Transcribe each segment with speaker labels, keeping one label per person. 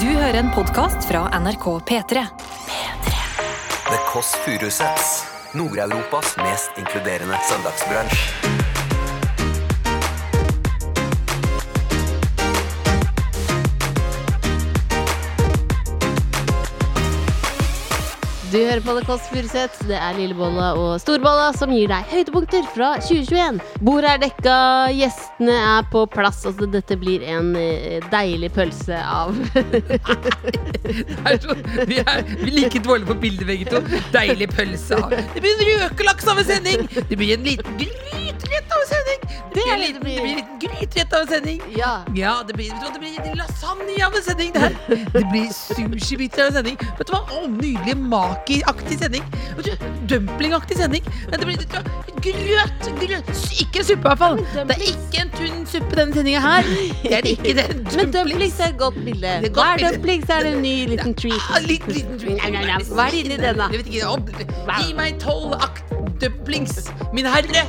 Speaker 1: Du hører en podkast fra NRK P3.
Speaker 2: The Kåss Furuseths. Nord-Europas mest inkluderende søndagsbransj.
Speaker 3: Du hører på The Kåss Furuseth. Det er Lillebolla og Storbolla som gir deg høydepunkter fra 2021. Bordet er dekka, gjestene er på plass. Altså, dette blir en eh, deilig pølse av
Speaker 4: er så, vi, er, vi er like dårlige på bilder, begge to. Deilig pølse. av- Det blir en røkelaks av en sending! Det blir en liten gryterett av en sending! Det blir en
Speaker 3: det
Speaker 4: liten,
Speaker 3: blir.
Speaker 4: det blir en liten gryterett av en sending!
Speaker 3: Ja.
Speaker 4: Ja, det blir, vet du hva, det blir en lasagne av en sending, det her. Det blir sushibiter av en sending. Vet du hva? Å, nydelig maki-aktig sending. Vet du, Dumpling-aktig sending. Men det blir vet du hva, grøt, grøt. Ikke en suppe, i hvert fall. Det er ikke en tynn suppe, denne sendinga her. Det er ikke det.
Speaker 3: Men dumplings er et godt bilde.
Speaker 4: er et godt
Speaker 3: Hva er
Speaker 4: bilde.
Speaker 3: dumplings? Er det en ny liten
Speaker 4: Ah,
Speaker 3: treat?
Speaker 4: liten, liten drink.
Speaker 3: Nei, nei, nei. Hva er det inni den, da?
Speaker 4: Jeg vet ikke. Å, Gi meg tolv dumplings, min herre.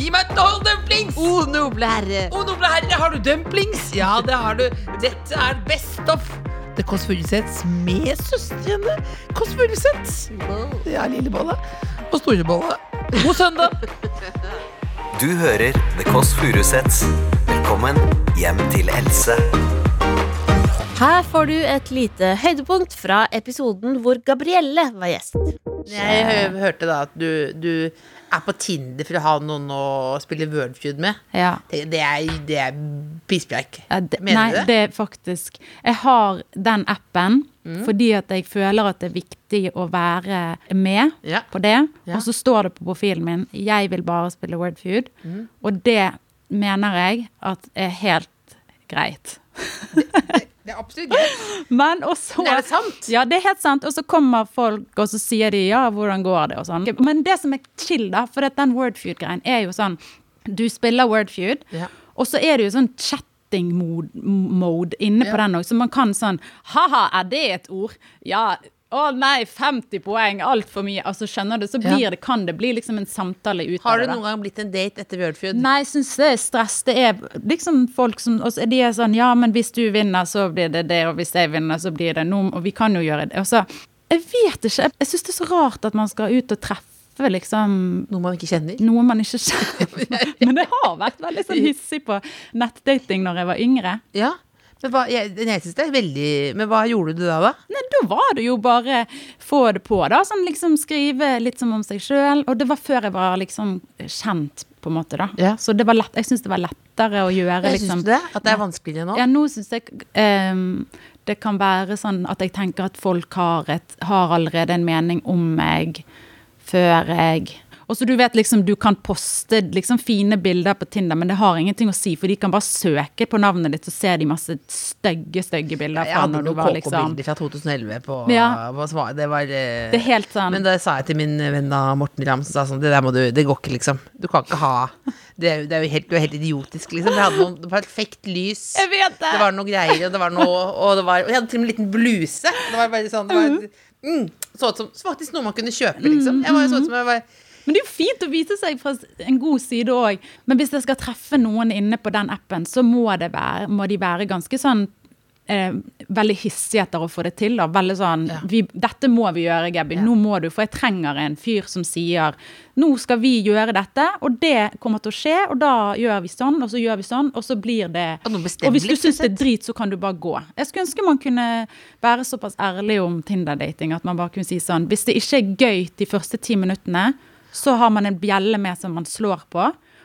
Speaker 4: Gi meg tolv dumplings!
Speaker 3: O noble herre.
Speaker 4: Å, noble herre, har du dumplings? Ja, det har du. Dette er best of The Kåss Furuseths med søstrene Kåss Furuseth. Det er lillebolle og storebolle. God søndag.
Speaker 2: Du hører The Kåss Furuseths. Velkommen hjem til Else.
Speaker 5: Her får du et lite høydepunkt fra episoden hvor Gabrielle var gjest.
Speaker 4: Jeg hø- hørte da at du, du er på Tinder for å ha noen å spille Wordfeud med.
Speaker 6: Ja.
Speaker 4: Det det er, det er pisspreik.
Speaker 6: Ja, det-
Speaker 4: Mener
Speaker 6: nei,
Speaker 4: du det?
Speaker 6: det er faktisk Jeg har den appen
Speaker 4: Mm.
Speaker 6: fordi at jeg føler at det er viktig å være med
Speaker 4: Ja.
Speaker 6: på det.
Speaker 4: Ja.
Speaker 6: Og så står det på profilen min 'Jeg vil bare spille Wordfeud'.
Speaker 4: Mm.
Speaker 6: Og det mener jeg at er helt greit.
Speaker 4: Det er absolutt gøy.
Speaker 6: Men og så
Speaker 4: Men er det sant?
Speaker 6: Ja, det er helt sant. Og så kommer folk, og så sier de ja, hvordan går det, og sånn. Men det som er chill, da, for at den Wordfeud-greien er jo sånn Du spiller Wordfeud,
Speaker 4: Ja.
Speaker 6: og så er det jo sånn chatting-mode inne på
Speaker 4: Ja.
Speaker 6: den òg, så man kan sånn Ha-ha, er det et ord? Ja. Å nei, 50 poeng, altfor mye. Altså, skjønner du, så blir det, kan det bli liksom en samtale ut
Speaker 4: Har
Speaker 6: av
Speaker 4: du
Speaker 6: det. da.
Speaker 4: noen gang blitt en date etter Wordfeud?
Speaker 6: Nei, jeg syns det er stress. Det er liksom folk som og så er De er sånn Ja, men hvis du vinner, så blir det det, og hvis jeg vinner, så blir det noe, og vi kan jo gjøre det. Og så Jeg vet ikke. Jeg, jeg syns det er så rart at man skal ut og treffe liksom
Speaker 4: Noe man ikke kjenner?
Speaker 6: noe man ikke kjenner. Men jeg har vært veldig sånn hissig på nettdating når jeg var yngre.
Speaker 4: Ja. Men hva, jeg, jeg synes det er veldig Men hva gjorde du da, da?
Speaker 6: Nei, da var det jo bare få det på, da. Sånn liksom skrive litt som om seg sjøl. Og det var før jeg var liksom kjent, på en måte, da.
Speaker 4: Ja.
Speaker 6: Så det var lett, jeg syns det var lettere å gjøre
Speaker 4: Jeg
Speaker 6: liksom
Speaker 4: synes du det? At det er vanskeligere nå?
Speaker 6: Ja, nå syns jeg ehm, det kan være sånn at jeg tenker at folk har, et, har allerede en mening om meg før jeg Og så du vet liksom, du kan poste liksom fine bilder på Tinder, men det har ingenting å si, for de kan bare søke på navnet ditt, så ser de masse stygge, stygge bilder
Speaker 4: Jeg
Speaker 6: fra
Speaker 4: hadde
Speaker 6: når du
Speaker 4: noen
Speaker 6: var liksom
Speaker 4: KK-bilder fra 2011 på,
Speaker 6: Ja.
Speaker 4: på svar. Det var eh,
Speaker 6: Det er helt sånn.
Speaker 4: Men da sa jeg til min venn da, Morten Ramm, som sa sånn Det der må du Det går ikke, liksom. Du kan ikke ha Det er, jo- det er jo helt, du er helt idiotisk, liksom. Jeg hadde noe perfekt lys.
Speaker 6: Jeg vet det!
Speaker 4: Det var noe greier, og det var noe Og, det var, og jeg hadde til og med en liten bluse. Det var bare sånn det var, mm, Så ut som så faktisk noe man kunne kjøpe, liksom. Jeg var jo så ut som jeg var
Speaker 6: Men det er jo fint å vise seg fra en god side òg. Men hvis jeg skal treffe noen inne på den appen, så må, det være, må de være ganske sånn eh, veldig hissige etter å få det til. Da. Veldig sånn vi, 'Dette må vi gjøre, Gabby. Nå må du.' For jeg trenger en fyr som sier 'Nå skal vi gjøre dette, og det kommer til å skje', og da gjør vi sånn, og så gjør vi sånn, og så blir det
Speaker 4: Og noen
Speaker 6: Og hvis du
Speaker 4: bestemmer,
Speaker 6: syns det er drit, så kan du bare gå. Jeg skulle ønske man kunne være såpass ærlig om Tinder-dating at man bare kunne si sånn Hvis det ikke er gøy de første ti minuttene, så har man en bjelle med som man slår på.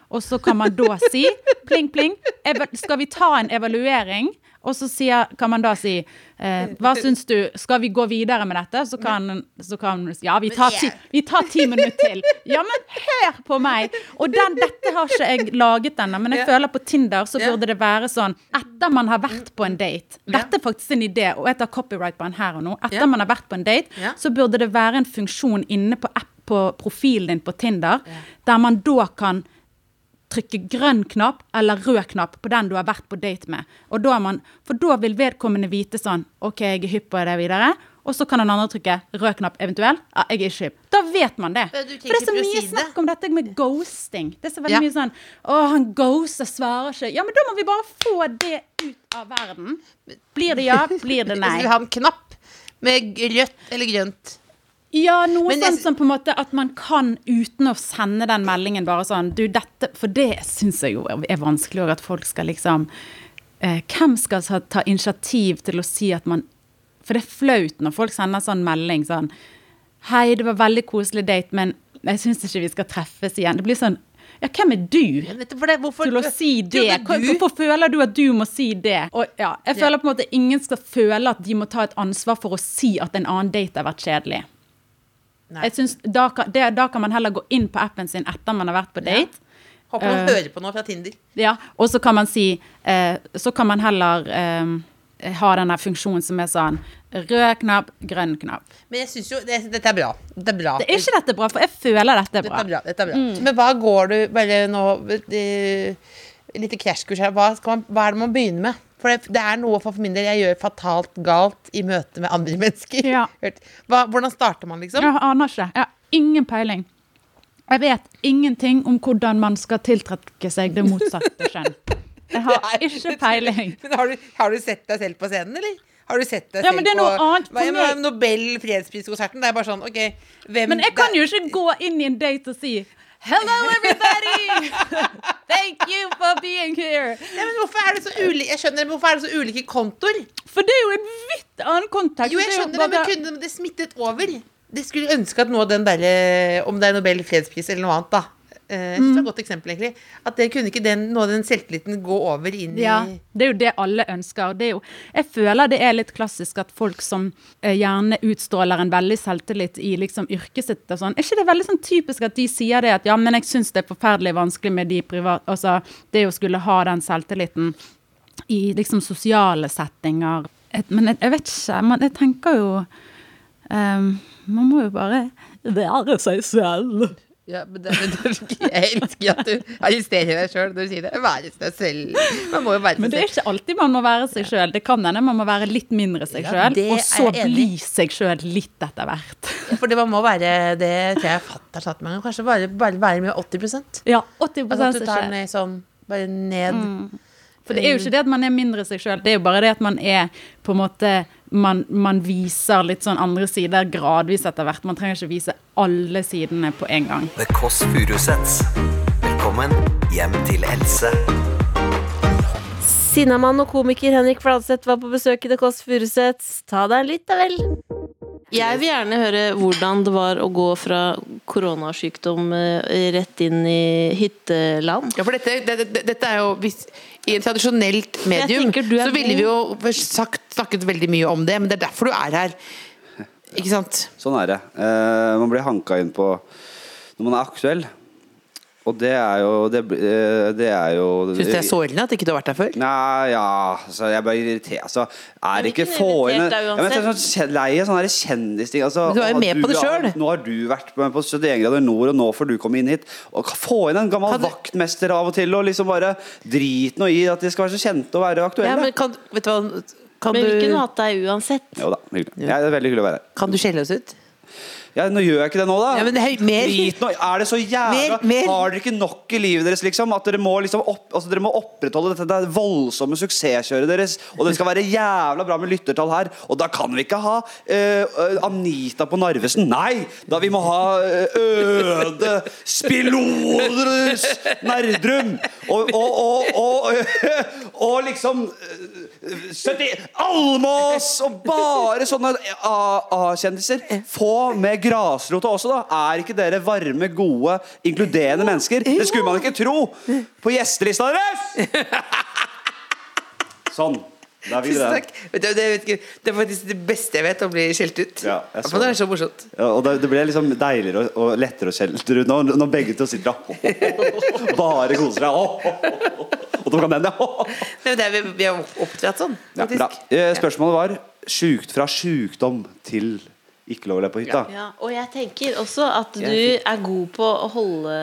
Speaker 6: Og så kan man da si pling, pling, eva- skal vi ta en evaluering? Og så sier, kan man da si eh, Hva syns du, skal vi gå videre med dette? Så kan, så kan Ja, vi tar, ti, vi tar ti minutter til. Ja, men hør på meg! Og den, dette har ikke jeg laget ennå, men jeg føler på Tinder så
Speaker 4: Ja.
Speaker 6: burde det være sånn Etter man har vært på en date Dette er faktisk en idé, og jeg tar copyright på den her og nå. Etter
Speaker 4: Ja.
Speaker 6: man har vært på en date,
Speaker 4: Ja.
Speaker 6: så burde det være en funksjon inne på app på profilen din på Tinder, der man da kan trykke grønn knapp eller rød knapp på den du har vært på date med. Og da er man, for da vil vedkommende vite sånn OK, jeg er hypp på det videre. Og så kan den andre trykke rød knapp eventuelt. Ja, jeg er ikke hypp. Da vet man det.
Speaker 4: Ja, du
Speaker 6: For det er
Speaker 4: tenker på
Speaker 6: så
Speaker 4: å
Speaker 6: mye
Speaker 4: si det.
Speaker 6: snakk om dette med ghosting. Det er så veldig
Speaker 4: Ja.
Speaker 6: mye sånn Å, han ghoster, svarer ikke. Ja, men da må vi bare få det ut av verden. Blir det ja, blir det nei.
Speaker 4: Jeg vil ha en knapp med rødt eller grønt.
Speaker 6: Ja, noe
Speaker 4: Men jeg
Speaker 6: sånn
Speaker 4: sy-
Speaker 6: som på en måte at man kan uten å sende den meldingen bare sånn Du, dette For det syns jeg jo er vanskelig òg, at folk skal liksom eh, Hvem skal ta- ta initiativ til å si at man For det er flaut når folk sender sånn melding sånn Hei, det var veldig koselig date, men jeg syns ikke vi skal treffes igjen. Det blir sånn Ja, hvem er du?
Speaker 4: Men nettopp for det, hvorfor
Speaker 6: til å si det.
Speaker 4: Trodde
Speaker 6: Hva-
Speaker 4: Du,
Speaker 6: Hvorfor føler du at du må si det? Og ja, jeg føler på en måte ingen skal føle at de må ta et ansvar for å si at en annen date har vært kjedelig.
Speaker 4: Nei.
Speaker 6: Jeg synes da, kan, det, da kan man heller gå inn på appen sin etter man har vært på date.
Speaker 4: håper noen
Speaker 6: Eh.
Speaker 4: hører på nå fra Tinder.
Speaker 6: Ja, og så kan man si eh, Så kan man heller eh, ha den her funksjonen som er sånn rød knapp, grønn knapp.
Speaker 4: Men jeg synes jo det, Dette er bra. Dette er bra.
Speaker 6: Det er ikke dette bra, for jeg føler dette er
Speaker 4: Dette
Speaker 6: bra.
Speaker 4: er bra. Dette er bra.
Speaker 6: Mm.
Speaker 4: Men hva går du Bare nå uh, Lite krasjkurs her. Hva, skal man, hva er det man begynner med? For det, det er noe for min del jeg gjør fatalt galt i møte med andre mennesker.
Speaker 6: Ja.
Speaker 4: Hørt. Hva, hvordan starter man, liksom?
Speaker 6: Jeg aner ikke. Jeg har ingen peiling. Jeg vet ingenting om hvordan man skal tiltrekke seg det motsatte kjønn. Jeg har
Speaker 4: Nei.
Speaker 6: ikke peiling.
Speaker 4: Men har du, har du sett deg selv på scenen, eller? Har du sett deg
Speaker 6: Ja,
Speaker 4: selv
Speaker 6: men det er noe
Speaker 4: på
Speaker 6: annet for
Speaker 4: hva- ja, men
Speaker 6: meg.
Speaker 4: Nobel fredspriskonserten? Det er bare sånn, OK hvem,
Speaker 6: Men jeg kan jo ikke gå inn i en date og si Hello, everybody! Thank you for being here!
Speaker 4: Nei, men hvorfor er det så ulike Jeg skjønner, men hvorfor er det så ulike kontoer?
Speaker 6: For det er jo en vidt annen kontekst.
Speaker 4: Jo, jeg
Speaker 6: Det er
Speaker 4: skjønner det, men
Speaker 6: bare-
Speaker 4: kunne det smittet over? Det skulle ønske at noe av den derre Om det er Nobel fredspris eller noe annet, da. Eh, Jeg synes det
Speaker 6: Mm.
Speaker 4: var et godt eksempel, egentlig. At det kunne ikke den, noe av den selvtilliten gå over inn
Speaker 6: Ja,
Speaker 4: i
Speaker 6: det er jo det alle ønsker. og Det er jo, jeg føler det er litt klassisk at folk som eh, gjerne utstråler en veldig selvtillit i liksom yrket sitt og sånn, er ikke det veldig sånn typisk at de sier det at ja, men jeg syns det er forferdelig vanskelig med de private Altså det å skulle ha den selvtilliten i liksom sosiale settinger. Et, men jeg, jeg vet ikke. Man, jeg tenker jo ehm, Man må jo bare være seg selv.
Speaker 4: Ja, men det, men det, Jeg elsker at du arresterer deg sjøl når du sier det. Være seg selv. Man må jo være
Speaker 6: Men det er
Speaker 4: seg selv.
Speaker 6: ikke alltid man må være seg sjøl. Det kan hende man må være litt mindre seg
Speaker 4: Ja,
Speaker 6: sjøl,
Speaker 4: det
Speaker 6: og så
Speaker 4: er jeg enig i.
Speaker 6: bli seg sjøl litt etter hvert.
Speaker 4: Fordi man må være Det tror jeg fatter satt meg Kanskje bare, bare være med 80 altså,
Speaker 6: Ja, 80
Speaker 4: At du
Speaker 6: seg
Speaker 4: tar
Speaker 6: sjøl.
Speaker 4: ned sånn Bare ned.
Speaker 6: Mm. For det
Speaker 7: Mm.
Speaker 6: er jo ikke det at man er mindre seg sjøl, det er jo bare det at man er på en måte man, man viser litt sånn andre sider gradvis etter hvert. Man trenger ikke vise alle sidene på en gang.
Speaker 2: The Kåss Furuseths. Velkommen hjem til Else.
Speaker 8: Sinnamann og komiker Henrik Fladseth var på besøk i The Kåss Furuseths. Ta deg en lytt, da vel.
Speaker 3: Jeg vil gjerne høre hvordan det var å gå fra koronasykdom eh, rett inn i hytteland.
Speaker 4: Ja, for dette, det, det, dette er jo hvis, I en tradisjonelt medium
Speaker 3: tenker du er
Speaker 4: så ville
Speaker 3: god.
Speaker 4: vi jo først sagt, snakket veldig mye om det, men det er derfor du er her. Ikke sant?
Speaker 9: Sånn er det. Eh, man blir hanka inn på når man er aktuell. Og det er jo Det, eh, det er jo
Speaker 4: Syns det er sårende at ikke du har vært her før?
Speaker 9: Nei, ja altså, Jeg blir irritert. Altså, er det ikke
Speaker 3: ikke
Speaker 9: få inn
Speaker 3: irritert da
Speaker 9: ja, men, jeg er sånn kjen- Lei av sånne her kjendisting. Altså,
Speaker 4: Men du er jo
Speaker 9: har
Speaker 4: med på det
Speaker 9: har-
Speaker 4: selv.
Speaker 9: Nå har du vært med på 71 grader nord, og nå får du komme inn hit. Og k- få inn en gammel
Speaker 4: Kan du-
Speaker 9: vaktmester av og til, og liksom bare drit nå i at de skal være så kjente og være aktuelle.
Speaker 4: Ja, men kan, vet du hva, kan,
Speaker 3: Men vi kunne
Speaker 4: du,
Speaker 3: hatt deg uansett.
Speaker 9: Jo da, hyggelig. Ja, det er veldig hyggelig å være her.
Speaker 4: kan du skjelle oss ut?
Speaker 9: Ja, nå gjør jeg ikke det nå, da.
Speaker 4: Ja, men hei, mer.
Speaker 9: Drit nå. Er det så jævla
Speaker 4: Mer, mer.
Speaker 9: Har dere ikke nok i livet deres, liksom? At dere må, liksom opp, altså, dere må opprettholde dette det voldsomme suksesskjøret deres. Og det skal være jævla bra med lyttertall her. Og da kan vi ikke ha eh, eh, Anita på Narvesen. Nei! Da vi må ha eh, Øde Spilodrus Nerdrum! Og, og, og, og, og liksom eh, 70 Almås! Og bare sånne A-kjendiser. Få med grasrota også, da. Er ikke dere varme, gode, inkluderende mennesker? Det skulle man ikke tro på gjestelista deres! Sånn. Der vil
Speaker 4: Tusen
Speaker 9: dere.
Speaker 4: takk. Vet du, det, vet ikke, det er faktisk det beste jeg vet, å bli skjelt ut.
Speaker 9: Ja, jeg så
Speaker 4: men det
Speaker 9: det.
Speaker 4: er så morsomt.
Speaker 9: Ja, og det, det ble liksom deiligere og, og lettere å skjelte ut når, når begge to sitter og bare koser seg. Og så kan den, ja.
Speaker 4: Nei, men det er, vi, vi er oppdratt sånn,
Speaker 9: Ja,
Speaker 4: faktisk.
Speaker 9: bra. Eh, Spørsmålet var sjukt fra sjukdom til ikke lov å le på hytta.
Speaker 3: Ja, og jeg tenker også at du er god på å holde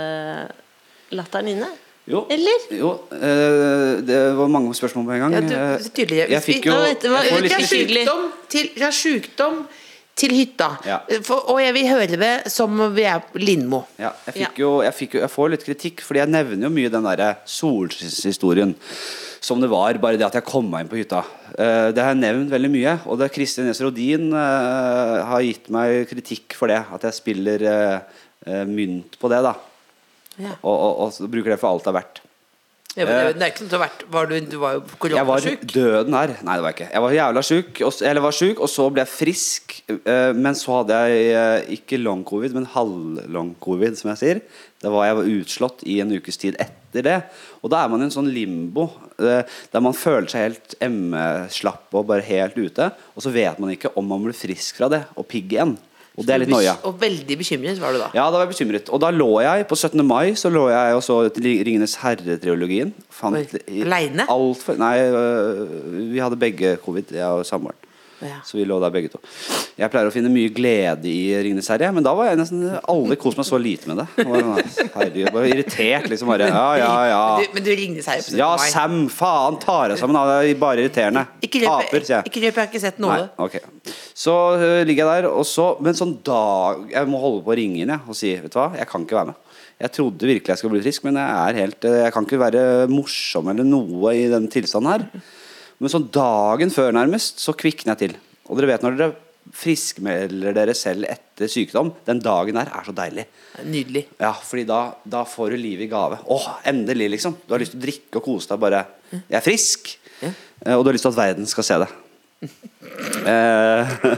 Speaker 3: latteren inne.
Speaker 9: Jo.
Speaker 3: Eller?
Speaker 9: Jo. eh, Det var mange spørsmål på en gang.
Speaker 4: Ja, du,
Speaker 9: Eh,
Speaker 4: tydeligere.
Speaker 9: Jeg fikk jo
Speaker 3: Nå vet du hva-
Speaker 9: jeg får
Speaker 3: Litt
Speaker 4: Fra
Speaker 9: litt,
Speaker 3: uhyggelig.
Speaker 4: sjukdom til, fra sjukdom til hytta.
Speaker 9: Ja.
Speaker 4: For, og jeg vil høre det som om vi er på Lindmo.
Speaker 9: Ja, jeg, fikk jo, jeg, fikk jo, jeg får litt kritikk, fordi jeg nevner jo mye den derre solskinnshistorien. Som det var, bare det at jeg kom meg inn på hytta. Eh, det har jeg nevnt veldig mye. Og det er Kristin Næss Rodin eh, har gitt meg kritikk for det. At jeg spiller eh, eh, mynt på det, da. Og, og, og så bruker det for alt det er verdt.
Speaker 4: Ja, men det- det er ikke sånn at du har vært var du, du var jo
Speaker 9: Eh. Jeg var
Speaker 4: koronasjuk.
Speaker 9: døden her. Nei, det var jeg ikke. Jeg var jævla sjuk, og, s- eller var sjuk, og så ble jeg frisk. eh, Men så hadde jeg eh, ikke long covid, men halv-long covid, som jeg sier. Da var jeg var utslått i en ukes tid etter det. Og da er man i en sånn limbo eh, der man føler seg helt emmeslapp og bare helt ute. Og så vet man ikke om man blir frisk fra det og pigg igjen. Og det er litt noia.
Speaker 4: Og veldig bekymret var du da.
Speaker 9: Ja, da var jeg bekymret. Og da lå jeg på 17. mai Så lå jeg og så Ringenes herre-triologien. Fant-
Speaker 4: Oi, alene?
Speaker 9: alt for- Nei, øh, vi hadde begge covid, jeg og samboeren.
Speaker 4: Ja.
Speaker 9: Så vi lå der begge to. Jeg pleier å finne mye glede i Ringenes herre, men da var jeg nesten Alle koste meg så lite med det. Jeg var- Herregud, bare irritert, liksom. Bare, ja, ja, ja.
Speaker 4: Du, men du ringte seg på 17.
Speaker 9: Ja,
Speaker 4: mai.
Speaker 9: Sam, faen, tar deg sammen. da, Det er bare irriterende.
Speaker 4: Ikke røp,
Speaker 9: Taper, sier jeg.
Speaker 4: ikke røp, jeg har ikke sett noe.
Speaker 9: Nei, ok Så øh, ligger jeg der, og så Men sånn dag Jeg må holde på å ringe inn jeg, og si Vet du hva, jeg kan ikke være med. Jeg trodde virkelig jeg skulle bli frisk, men jeg er helt øh, Jeg kan ikke være morsom eller noe i den tilstanden her. Men sånn dagen før, nærmest, så kvikner jeg til. Og dere vet når dere friskmelder dere selv etter sykdom, den dagen der er så deilig.
Speaker 4: Nydelig.
Speaker 9: Ja, fordi da, da får du livet i gave. Åh, endelig, liksom. Du har lyst til å drikke og kose deg. Bare Jeg er frisk! Eh, Og du har lyst til at verden skal se det. Eh,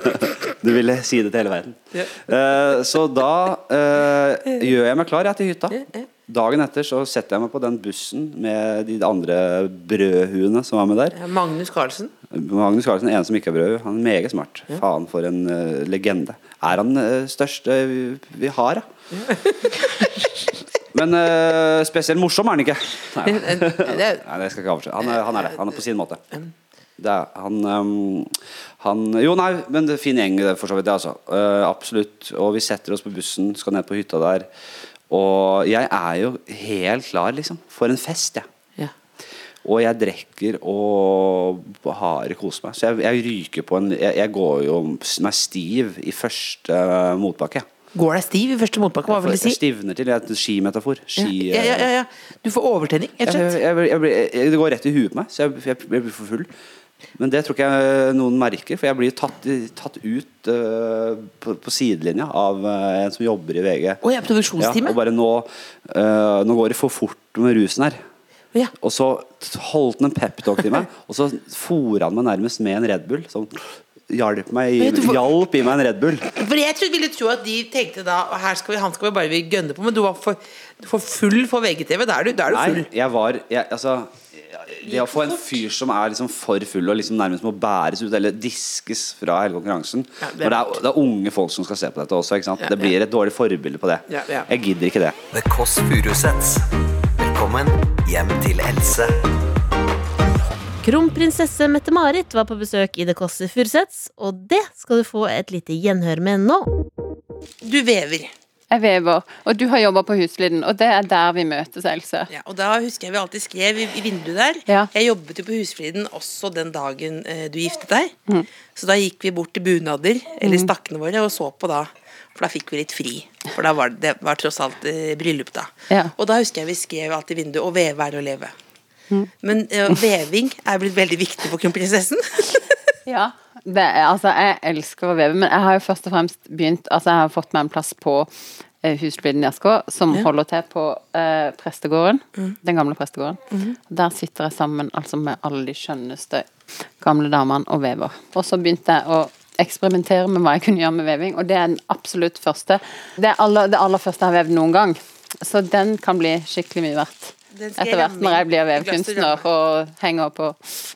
Speaker 9: du ville si det til hele verden. Eh, så da eh, gjør jeg meg klar jeg, til hytta. Dagen etter så setter jeg meg på den bussen med de andre brødhuene som var med der.
Speaker 4: Ja, Magnus Carlsen.
Speaker 9: Magnus Carlsen, en som ikke er brødhue, han er meget smart. Faen, for en eh, legende. Er han uh, største vi- vi har, da? Men eh, spesielt morsom er han ikke. Nei,
Speaker 4: En- det er-
Speaker 9: Nei, det skal jeg ikke avsløre. Han, er- han er det. Han er på sin måte. Det er, han, ehm, han Jo, nei, men det er fin gjeng, det, for så vidt. Det, altså. Eh, absolutt. Og vi setter oss på bussen, skal ned på hytta der. Og jeg er jo helt klar, liksom. For en fest, jeg.
Speaker 4: Ja.
Speaker 9: Og jeg drikker og har kost meg. Så jeg, jeg ryker på en Jeg, jeg går jo meg stiv i første eh, motbakke. jeg.
Speaker 4: Går deg stiv i første motbakke, hva vil det
Speaker 9: Jeg
Speaker 4: si?
Speaker 9: stivner til. Jeg er en skimetafor.
Speaker 4: Ja,
Speaker 9: Ski,
Speaker 4: ja, ja, ja, ja. Du får overtenning, rett og
Speaker 9: Jeg,
Speaker 4: slett.
Speaker 9: jeg, jeg, blir- jeg, det går rett i huet på meg, så jeg, jeg, jeg blir for full. Men det tror ikke jeg noen merker, for jeg blir tatt, tatt ut eh, på, på sidelinja av eh, en som jobber i VG.
Speaker 4: Å, jeg er produksjonsteamet?
Speaker 9: Ja, og bare nå, eh, nå går det for fort med rusen her.
Speaker 4: Ja.
Speaker 9: Og så holdt han en peptalk til meg, og så fôra han meg nærmest med en Red Bull. Sånn, hjalp, meg,
Speaker 4: Men vet du hva-
Speaker 9: hjalp i meg en Red Bull.
Speaker 4: For jeg trodde, ville tro at de tenkte da «Å, her skal vi, Han skal vi bare vi gønne på, men du var for, du var full for VGTV. Da er du, da er du full.
Speaker 9: Nei, jeg var jeg, Altså det å få en fyr som er liksom for full og liksom nærmest må bæres ut eller diskes fra hele konkurransen
Speaker 4: Ja, det
Speaker 9: det
Speaker 4: er
Speaker 9: er, det, er, det er unge folk som skal se på dette også. Ikke sant?
Speaker 4: Ja,
Speaker 9: det blir et dårlig forbilde på det.
Speaker 4: Ja, ja.
Speaker 9: Jeg gidder ikke det.
Speaker 2: The Kåss Furuseths. Velkommen hjem til Else.
Speaker 5: Kronprinsesse Mette-Marit var på besøk i Det Kåss Furuseths, og det skal du få et lite gjenhør med nå.
Speaker 4: Du vever.
Speaker 10: Jeg vever, og du har jobba på Huslyden, og det er der vi møtes, Else.
Speaker 4: Ja, og da husker jeg vi alltid skrev i, i vinduet der.
Speaker 10: Ja.
Speaker 4: Jeg jobbet jo på Husfliden også den dagen eh, du giftet deg. Så da gikk vi bort til bunader, eller
Speaker 10: Mm.
Speaker 4: stakkene våre, og så på da. For da fikk vi litt fri. For da var det, det var tross alt eh, bryllup, da.
Speaker 10: Ja.
Speaker 4: Og da husker jeg vi skrev alltid i vinduet 'Å veve er å leve'. Men eh, veving er blitt veldig viktig for kronprinsessen.
Speaker 10: Ja, det er, altså, jeg elsker å veve, men jeg har jo først og fremst begynt Altså, jeg har fått meg en plass på eh, Husfliden i Asker, som holder til på eh, prestegården. Den gamle prestegården.
Speaker 7: Mm.
Speaker 10: Der sitter jeg sammen altså, med alle de skjønneste gamle damene og vever. Og så begynte jeg å eksperimentere med hva jeg kunne gjøre med veving, og det er den absolutt første. Det er aller, det aller første jeg har vevd noen gang. Så den kan bli skikkelig mye verdt.
Speaker 4: Den skal jeg
Speaker 10: Etter hvert
Speaker 4: ramme
Speaker 10: når jeg
Speaker 4: inn
Speaker 10: blir
Speaker 4: i glass til
Speaker 10: vevkunstner og henger på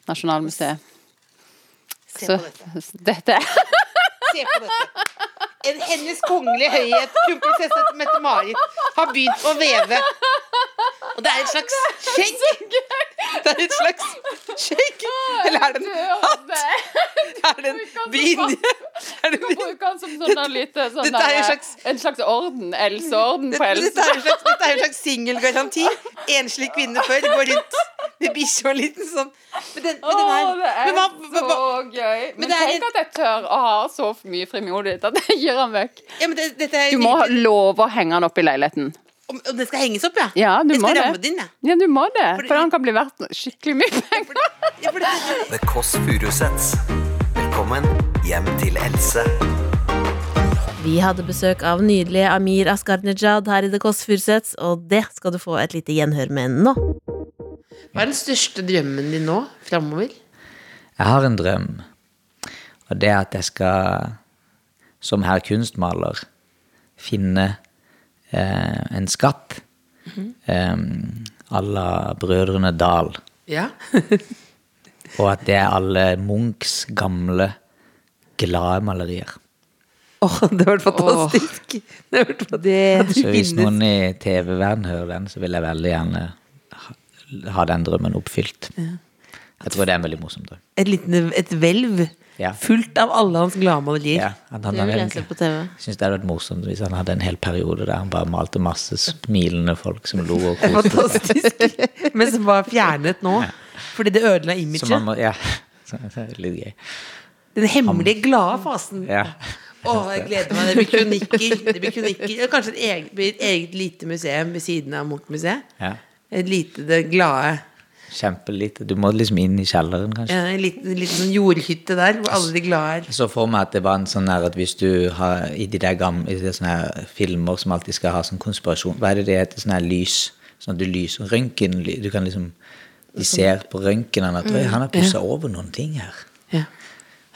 Speaker 10: Nasjonalmuseet.
Speaker 4: Se
Speaker 10: Så
Speaker 4: på dette.
Speaker 10: dette er
Speaker 4: Se på dette. En hennes kongelige høyhet, kronprinsesse Mette-Marit, har begynt å veve. Og det er et slags skjegg. Det er et slags skjegg. Eller er det en hatt? Er det en brynje? Er det en brynje?
Speaker 10: Bruker han som sånn der lite sånn
Speaker 4: Dette er jo
Speaker 10: der,
Speaker 4: slags-
Speaker 10: En slags orden? Elseorden på
Speaker 4: Dette, dette
Speaker 10: Else?
Speaker 4: er en slags, dette er en slags singelgaranti. Enslige kvinner før går rundt med bikkje og en liten sånn Men den, men den
Speaker 10: Åh,
Speaker 4: her
Speaker 10: det er
Speaker 4: men hva, hva,
Speaker 10: så
Speaker 4: hva,
Speaker 10: gøy. Men
Speaker 4: det er
Speaker 10: tenk
Speaker 4: en-
Speaker 10: at jeg tør å ha så mye frimodig at jeg gir han vekk.
Speaker 4: ja, men det, dette er
Speaker 10: Du må
Speaker 4: nydelig.
Speaker 10: love å henge han opp i leiligheten.
Speaker 4: Om, om det skal henges opp, ja?
Speaker 10: Ja, du
Speaker 4: Jeg
Speaker 10: må
Speaker 4: skal ramme
Speaker 10: det.
Speaker 4: det inn, jeg.
Speaker 10: Ja, du må det.
Speaker 4: Fordi-
Speaker 10: For han kan bli verdt skikkelig mye penger.
Speaker 4: Ja, for det-
Speaker 2: The Kåss Furuseths. Velkommen hjem til Else.
Speaker 5: Vi hadde besøk av nydelige Amir Asgardnejad her i The Kåss Furuseths, og det skal du få et lite gjenhør med nå.
Speaker 4: Hva er den største drømmen din nå framover?
Speaker 11: Jeg har en drøm, og det er at jeg skal, som herr kunstmaler, finne eh, en skatt eh, à la Brødrene Dal,
Speaker 4: Ja.
Speaker 11: og at det er alle Munchs gamle, glade malerier.
Speaker 4: det har vært fantastisk. Det har vært fantastisk.
Speaker 11: Så hvis noen i TV-verden hører den, så vil jeg veldig gjerne ha, ha den drømmen oppfylt. Jeg tror det er en veldig morsom drøm.
Speaker 4: Et, liten, et hvelv
Speaker 11: Ja.
Speaker 4: fullt av alle hans glade malerier.
Speaker 11: Ja, at han
Speaker 3: Det vil
Speaker 11: hadde
Speaker 3: jeg
Speaker 11: en-
Speaker 3: se på TV.
Speaker 11: Syns det hadde vært morsomt hvis han hadde en hel periode der han bare malte masse smilende folk som lo og
Speaker 4: Det er
Speaker 11: koste seg.
Speaker 4: Fantastisk. Men som var fjernet nå. Fordi det ødela
Speaker 11: Så man må,
Speaker 4: imaget.
Speaker 11: ja. Så det er litt gøy.
Speaker 4: Den hemmelige, glade fasen.
Speaker 11: Ja.
Speaker 4: Å, jeg gleder meg. Det blir kronikker. Det blir kronikker. Eller Kanskje et eget, blir et eget lite museum ved siden av Munch-museet.
Speaker 11: ja.
Speaker 4: Et lite, det glade
Speaker 11: Kjempelite. Du må liksom inn i kjelleren, kanskje.
Speaker 4: ja, En liten, en liten sånn jordhytte der, hvor alle de glade er.
Speaker 11: Jeg så for meg at det var en sånn her at hvis du har i de der gamle i de sånne her filmer som alltid skal ha sånn konspirasjon Hva er det det heter? Sånn her lys? Sånn at du lyser Røntgen Du kan liksom De ser på røntgenen at «Oi, han har pussa over noen ting her.
Speaker 4: Mm, Ja.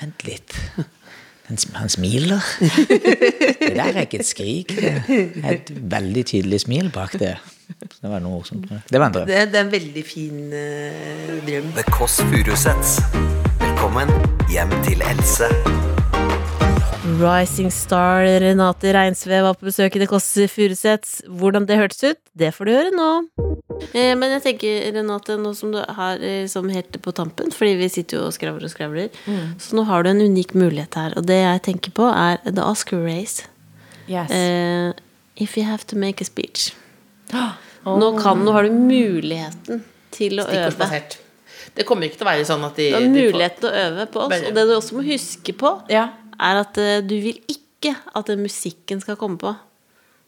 Speaker 11: Vent litt. Han, sm- han smiler. Det der er ikke et skrik. Det er et veldig tydelig smil bak det. Så det var noe morsomt. med det. Det var en drøm.
Speaker 4: Det, det er en veldig fin eh, drøm.
Speaker 2: The Kåss Furuseths. Velkommen hjem til Else.
Speaker 5: Rising Star Renate Reinsve var på besøk i Det Kåss Furuseths. Hvordan det hørtes ut, det får du høre nå.
Speaker 3: Eh, Men jeg tenker, Renate, nå som du har eh, liksom helt på tampen, fordi vi sitter jo og skravler og skravler,
Speaker 5: Mm.
Speaker 3: så nå har du en unik mulighet her. Og det jeg tenker på, er the Oscar race. Eh, if you have to make a speech.
Speaker 5: Oh.
Speaker 3: Nå, kan, nå har du muligheten til å øve.
Speaker 4: Stikkordsbasert. Det kommer ikke til å være sånn at de,
Speaker 3: Du har
Speaker 4: de får-
Speaker 3: muligheten til å øve på oss. Og det du også må huske på,
Speaker 1: Ja.
Speaker 3: er at eh, du vil ikke at den musikken skal komme på.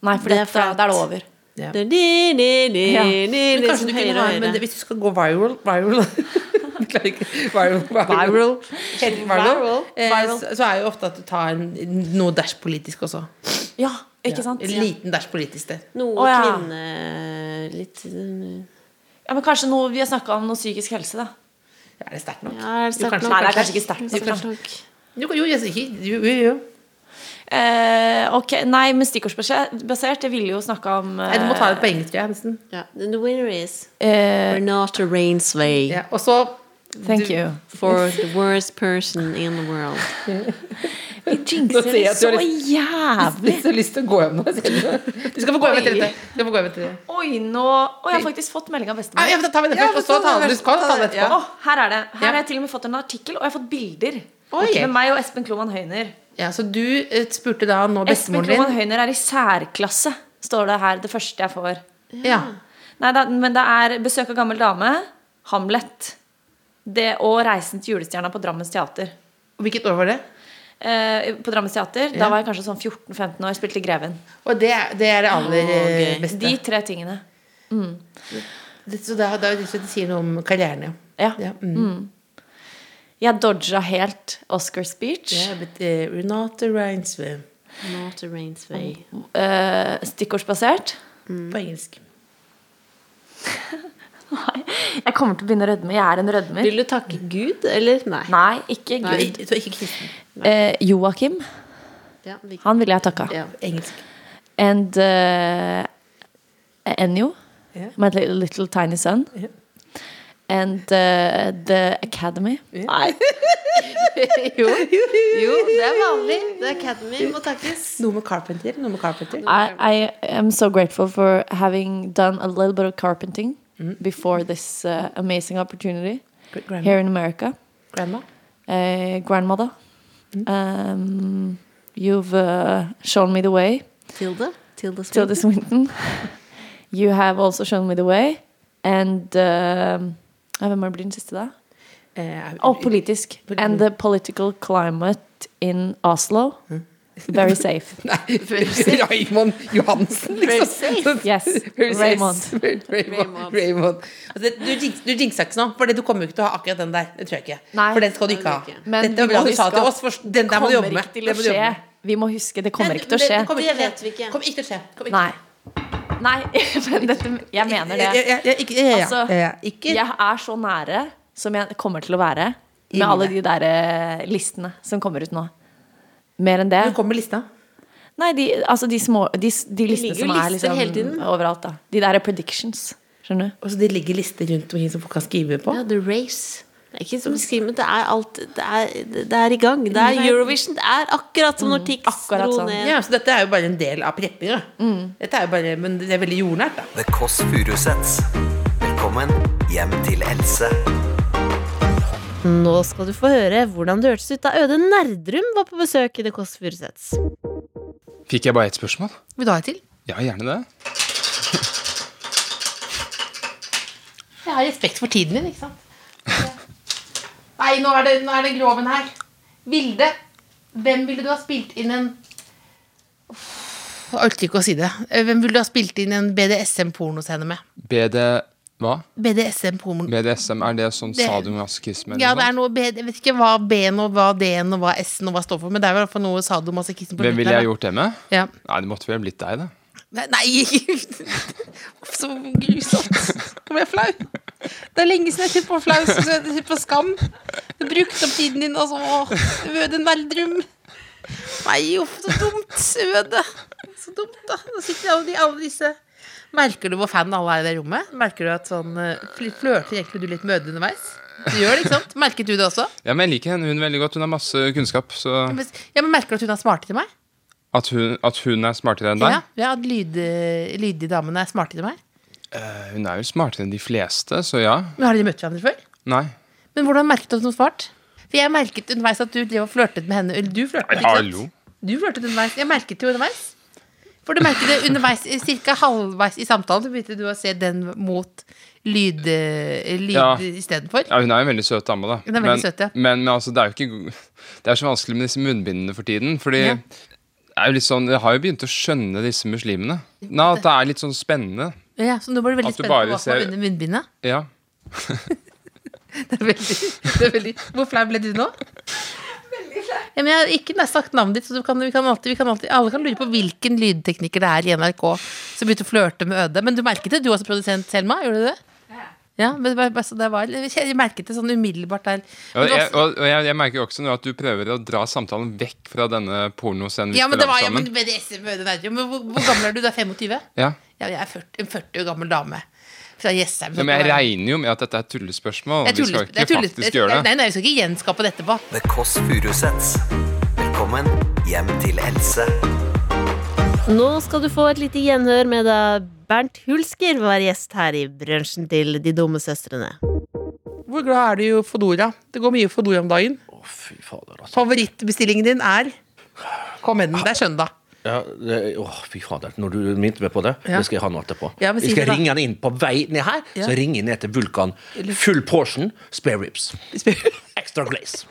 Speaker 1: Nei, for
Speaker 3: Det er
Speaker 1: dette, da er det over.
Speaker 4: Ja.
Speaker 3: Det er di, di, di,
Speaker 1: Ja.
Speaker 3: di,
Speaker 4: Men
Speaker 3: liksom
Speaker 4: kanskje du kunne
Speaker 3: høyere og
Speaker 4: ha en, men
Speaker 3: høyere.
Speaker 4: det, hvis du skal gå viral Viral Klarer ikke. Viral, viral.
Speaker 3: Viral.
Speaker 4: Helt viral.
Speaker 3: Viral.
Speaker 4: Eh,
Speaker 3: Viral.
Speaker 4: Så, så er jo ofte at du tar en, noe dashpolitisk også.
Speaker 1: Ja, ikke sant?
Speaker 4: En liten dashpolitisk der.
Speaker 3: Noe
Speaker 1: Å, ja.
Speaker 3: kvinne... Litt eh,
Speaker 1: Ja, men kanskje noe, vi har snakka om noe psykisk helse, da.
Speaker 4: Ja, Er det sterkt nok?
Speaker 3: Ja, er det
Speaker 4: Jo,
Speaker 3: sterkt
Speaker 4: kanskje-
Speaker 1: Nei,
Speaker 3: nok?
Speaker 1: det er kanskje ikke sterkt. nok.
Speaker 4: Jo, jo, jeg, sier- jo, jo, jo.
Speaker 1: Eh, ok, Nei, men stikkordsbasert Jeg ville jo snakka om eh,
Speaker 4: Nei, du må ta det på engelsk, tror jeg. Nesten.
Speaker 3: Ja. The winner is
Speaker 1: eh,
Speaker 3: Renate Rainsway
Speaker 4: Ja, og så
Speaker 1: Thank you.
Speaker 3: for the worst person in the world.
Speaker 4: Nå ser jeg at du har lyst,
Speaker 1: jævlig
Speaker 4: lyst, lyst til å gå hjem nå. ser Du Du skal få gå hjem etter dette. Du skal få gå hjem etter det.
Speaker 1: Oi, nå Å, jeg har faktisk fått melding av
Speaker 4: Ah,
Speaker 1: bestemor.
Speaker 4: ja, men da tar vi det først, og så tar vi det, skal vi ta det etterpå.
Speaker 1: Å, her er det. Her
Speaker 4: Ja.
Speaker 1: har jeg til og med fått en artikkel, og jeg har fått bilder.
Speaker 4: Oi.
Speaker 1: Med meg og Espen Kloman Høyner.
Speaker 4: Ja, så du eh, spurte da nå
Speaker 1: Espen
Speaker 4: bestemoren
Speaker 1: Kloman
Speaker 4: din?
Speaker 1: Høyner er i særklasse, står det her. Det første jeg får.
Speaker 4: Ja.
Speaker 1: Nei, da, men det er 'Besøk av gammel dame', 'Hamlet' det, og 'Reisen til julestjerna' på Drammens teater.
Speaker 4: Og hvilket år var det?
Speaker 1: Eh, på Drammens teater,
Speaker 4: Ja.
Speaker 1: Da var jeg kanskje sånn 14-15 år, spilte Greven.
Speaker 4: Og det, er- det er det aller eh,
Speaker 3: gøy.
Speaker 4: beste.
Speaker 1: De tre tingene.
Speaker 4: Det- Så da, da det sier noe om karrieren, ja.
Speaker 1: Ja.
Speaker 4: ja. Mm.
Speaker 1: Jeg dodga helt Oscar speech.
Speaker 4: Det er blitt eh, Renate Reinsve
Speaker 3: Renate Rainsway.
Speaker 1: Eh, stikkordsbasert.
Speaker 4: på engelsk.
Speaker 1: Jeg kommer til å begynne å rødme. Jeg er en rødmer.
Speaker 3: Vil du takke Gud, eller? Nei.
Speaker 1: Nei, ikke
Speaker 4: Så
Speaker 1: Gud.
Speaker 4: ikke- så ikke kristen.
Speaker 1: Eh, Joakim.
Speaker 3: Ja, vi-
Speaker 1: Han ville jeg takka.
Speaker 3: Ja.
Speaker 4: Engelsk.
Speaker 1: And eh, Ennio.
Speaker 4: Ja.
Speaker 1: My li- little tiny son.
Speaker 4: Ja.
Speaker 1: And eh, The Academy.
Speaker 3: Nei. jo. jo, det er vanlig. The Academy må takkes.
Speaker 4: Noe med Carpenter. Noe med Carpenter.
Speaker 1: I, I am so grateful for having done a little bit of carpenting before this uh, amazing opportunity
Speaker 4: Gr- Mm. Grandma.
Speaker 1: here in America.
Speaker 4: Grandma. Mm.
Speaker 1: Uh, grandmother, um, you've uh, shown me the way.
Speaker 3: Tilde. Tilde Sveen.
Speaker 1: Tilda Swinton. you have also shown me the way. And um, Ja, Hvem var det blir den siste, da?
Speaker 4: Eh,
Speaker 1: Og politisk. And the political climate in Oslo.
Speaker 4: Mm.
Speaker 1: Very safe.
Speaker 4: Raymond Johansen, liksom.
Speaker 1: Yes.
Speaker 4: Very safe.
Speaker 1: Raymond.
Speaker 4: Raymond. Raymond. Altså, det- du jinx- du jinxer ikke noe, for det- du kommer jo ikke til å ha akkurat den der. Det tror jeg ikke. for den skal du ikke ha.
Speaker 1: Men
Speaker 4: Dette
Speaker 1: vi må
Speaker 4: var bra du sa
Speaker 1: huske
Speaker 4: til
Speaker 1: at
Speaker 4: oss, for den der må du jobbe
Speaker 1: Kommer
Speaker 4: med.
Speaker 1: ikke til å
Speaker 4: Den må du jobbe
Speaker 1: skje.
Speaker 4: med.
Speaker 1: Vi må huske, det kommer ikke til å
Speaker 4: Det-
Speaker 1: skje.
Speaker 4: det kommer ikke til å skje.
Speaker 3: vi ikke.
Speaker 4: Kommer ikke til å skje. Kommer ikke
Speaker 1: Nei. Nei, men dette, jeg mener det.
Speaker 4: Jeg- jeg- jeg- ikke- ja, ja, ja.
Speaker 1: Altså,
Speaker 4: Ja, ja. Ikke-
Speaker 1: jeg er så nære som jeg kommer til å være
Speaker 4: I
Speaker 1: med alle de
Speaker 4: livet.
Speaker 1: der eh, listene som kommer ut nå. Mer enn det. Hvor
Speaker 4: kommer lista?
Speaker 1: Nei, de, altså de små De, de listene
Speaker 4: ligger jo
Speaker 1: som er
Speaker 4: lister
Speaker 1: liksom,
Speaker 4: hele tiden.
Speaker 1: overalt, da. De der predictions. Skjønner du?
Speaker 4: Og så det ligger lister rundt omkring som folk kan skrive på?
Speaker 3: Ja, The Race. Det er ikke som skriver, men det er alt det er, det er i gang. Det
Speaker 4: Mm.
Speaker 3: er Eurovision. Det er akkurat som når Tix dro ned.
Speaker 4: sånn. Ja, så dette er jo bare en del av preppinga.
Speaker 1: Mm.
Speaker 4: Dette er jo bare, men det er veldig jordnært, da.
Speaker 2: The Kåss Furuseths. Velkommen hjem til Else.
Speaker 5: Nå skal du få høre hvordan det hørtes ut da Øde Nerdrum var på besøk i The Kåss Furuseths.
Speaker 12: Fikk jeg bare ett spørsmål?
Speaker 4: Vil du ha et til?
Speaker 12: Ja, gjerne det.
Speaker 4: Jeg har respekt for tiden din, ikke sant? Nei, nå er det, nå er det groven her. Vilde, hvem ville du ha spilt inn en Jeg orker ikke å si det. Eh, Hvem ville du ha spilt inn en BDSM-pornoscene med?
Speaker 12: BD... Hva?
Speaker 4: BDSM-porno
Speaker 12: BDSM, er det sånn
Speaker 4: Det-
Speaker 12: sadomasochisme? liksom?
Speaker 4: Ja, det er noe B, Jeg vet ikke hva B-en og hva D-en og hva S-en og hva står for, men det er i hvert fall noe sadomasochisme på
Speaker 12: Hvem ville jeg gjort det med?
Speaker 4: Ja.
Speaker 12: Nei, det måtte vel blitt deg, da.
Speaker 4: Nei, nei. Så grusomt. Nå ble jeg flau. Det er lenge siden jeg har sett på flau. så Jeg har sett på Skam. Du brukte opp tiden din, og så åh, Øde Nerdrum. Nei, uff, så dumt. Øde. Så dumt, da. Nå sitter alle, de- alle disse Merker du hvor fan alle er i det rommet? Merker du at sånn eh, fl- Flørter egentlig du litt med Øde underveis? Du gjør det, ikke sant? Merket du det også?
Speaker 12: Ja, men jeg liker henne hun veldig godt. Hun har masse kunnskap. Så
Speaker 4: Ja, men Merker du at hun er smartere enn meg?
Speaker 12: at hun, at hun er smartere enn deg?
Speaker 4: Ja, ja at lyd- eh, lydige damene er smartere enn meg?
Speaker 12: Eh, hun er jo smartere enn de fleste, så ja.
Speaker 4: Men Har dere møtt hverandre før?
Speaker 12: Nei.
Speaker 4: Men hvordan merket du at hun svarte? For jeg merket underveis at du drev og flørtet med henne. Eller du flørtet, ikke sant?
Speaker 12: Hallo.
Speaker 4: Du flørtet underveis. Jeg merket det jo underveis. For du merket det underveis, cirka halvveis i samtalen, så begynte du å se den mot lyd, eh, lyd
Speaker 12: Ja.
Speaker 4: istedenfor.
Speaker 12: Ja, hun er jo en veldig søt dame, da.
Speaker 4: Hun er veldig
Speaker 12: men,
Speaker 4: søt, ja.
Speaker 12: men, men altså, det er jo ikke Det er så vanskelig med disse munnbindene for tiden. Fordi
Speaker 4: Ja.
Speaker 12: det er jo litt sånn, jeg har jo begynt å skjønne disse muslimene. Nei, At det er litt sånn spennende.
Speaker 4: Ja, så nå ble du veldig
Speaker 12: At du
Speaker 4: spent på
Speaker 12: bare
Speaker 4: hva som var
Speaker 12: ser-
Speaker 4: under munnbindet.
Speaker 12: Ja.
Speaker 4: Det er veldig, det er veldig. Hvor flau ble du nå? Ja, men jeg har ikke nær sagt navnet ditt, så du kan, vi kan alltid, vi kan alltid, alle kan lure på hvilken lydtekniker det er i NRK som begynte å flørte med Øde. Men du merket det, du også, produsent Selma? Gjorde du det? Ja, men det var, bare så det var, jeg merket det sånn umiddelbart der. Men
Speaker 12: Og
Speaker 4: det
Speaker 12: jeg,
Speaker 4: var-
Speaker 12: og og jeg, jeg merker jo også nå at du prøver å dra samtalen vekk fra denne pornoscenen vi
Speaker 4: ja, men det
Speaker 12: spiller
Speaker 4: var ja, men,
Speaker 12: sammen.
Speaker 4: BDSM med Øde Nerdrum. Men hvor, hvor gammel er du? Du er 25?
Speaker 12: Ja.
Speaker 4: Ja, jeg er 40, en 40 år gammel dame. Fra Jessheim.
Speaker 12: Ja, men jeg regner jo med at dette er tullespørsmål.
Speaker 4: Jeg
Speaker 12: Vi
Speaker 4: tuller-
Speaker 12: skal
Speaker 4: jeg
Speaker 12: ikke
Speaker 4: tuller-
Speaker 12: faktisk gjøre det.
Speaker 4: Nei, nei, vi skal ikke gjenskape det etterpå.
Speaker 2: The Kåss Furuseths. Velkommen hjem til Else.
Speaker 5: Nå skal du få et lite gjenhør med da Bernt Hulsker var gjest her i brunsjen til De dumme søstrene.
Speaker 4: Hvor glad er du i Fodora? Det går mye Fodora om dagen.
Speaker 13: Fy fader, altså.
Speaker 4: Favorittbestillingen din er Kom med den, det er søndag.
Speaker 13: Ja, det, åh, fy fader, når du minte meg på det,
Speaker 4: Ja.
Speaker 13: det skal jeg ha noe etterpå.
Speaker 4: Ja, men si
Speaker 13: jeg skal
Speaker 4: det da.
Speaker 13: ringe han inn på vei ned her,
Speaker 4: Ja.
Speaker 13: så jeg ringer jeg ned til Vulkan. Full portion, spare ribs. Extra glaze.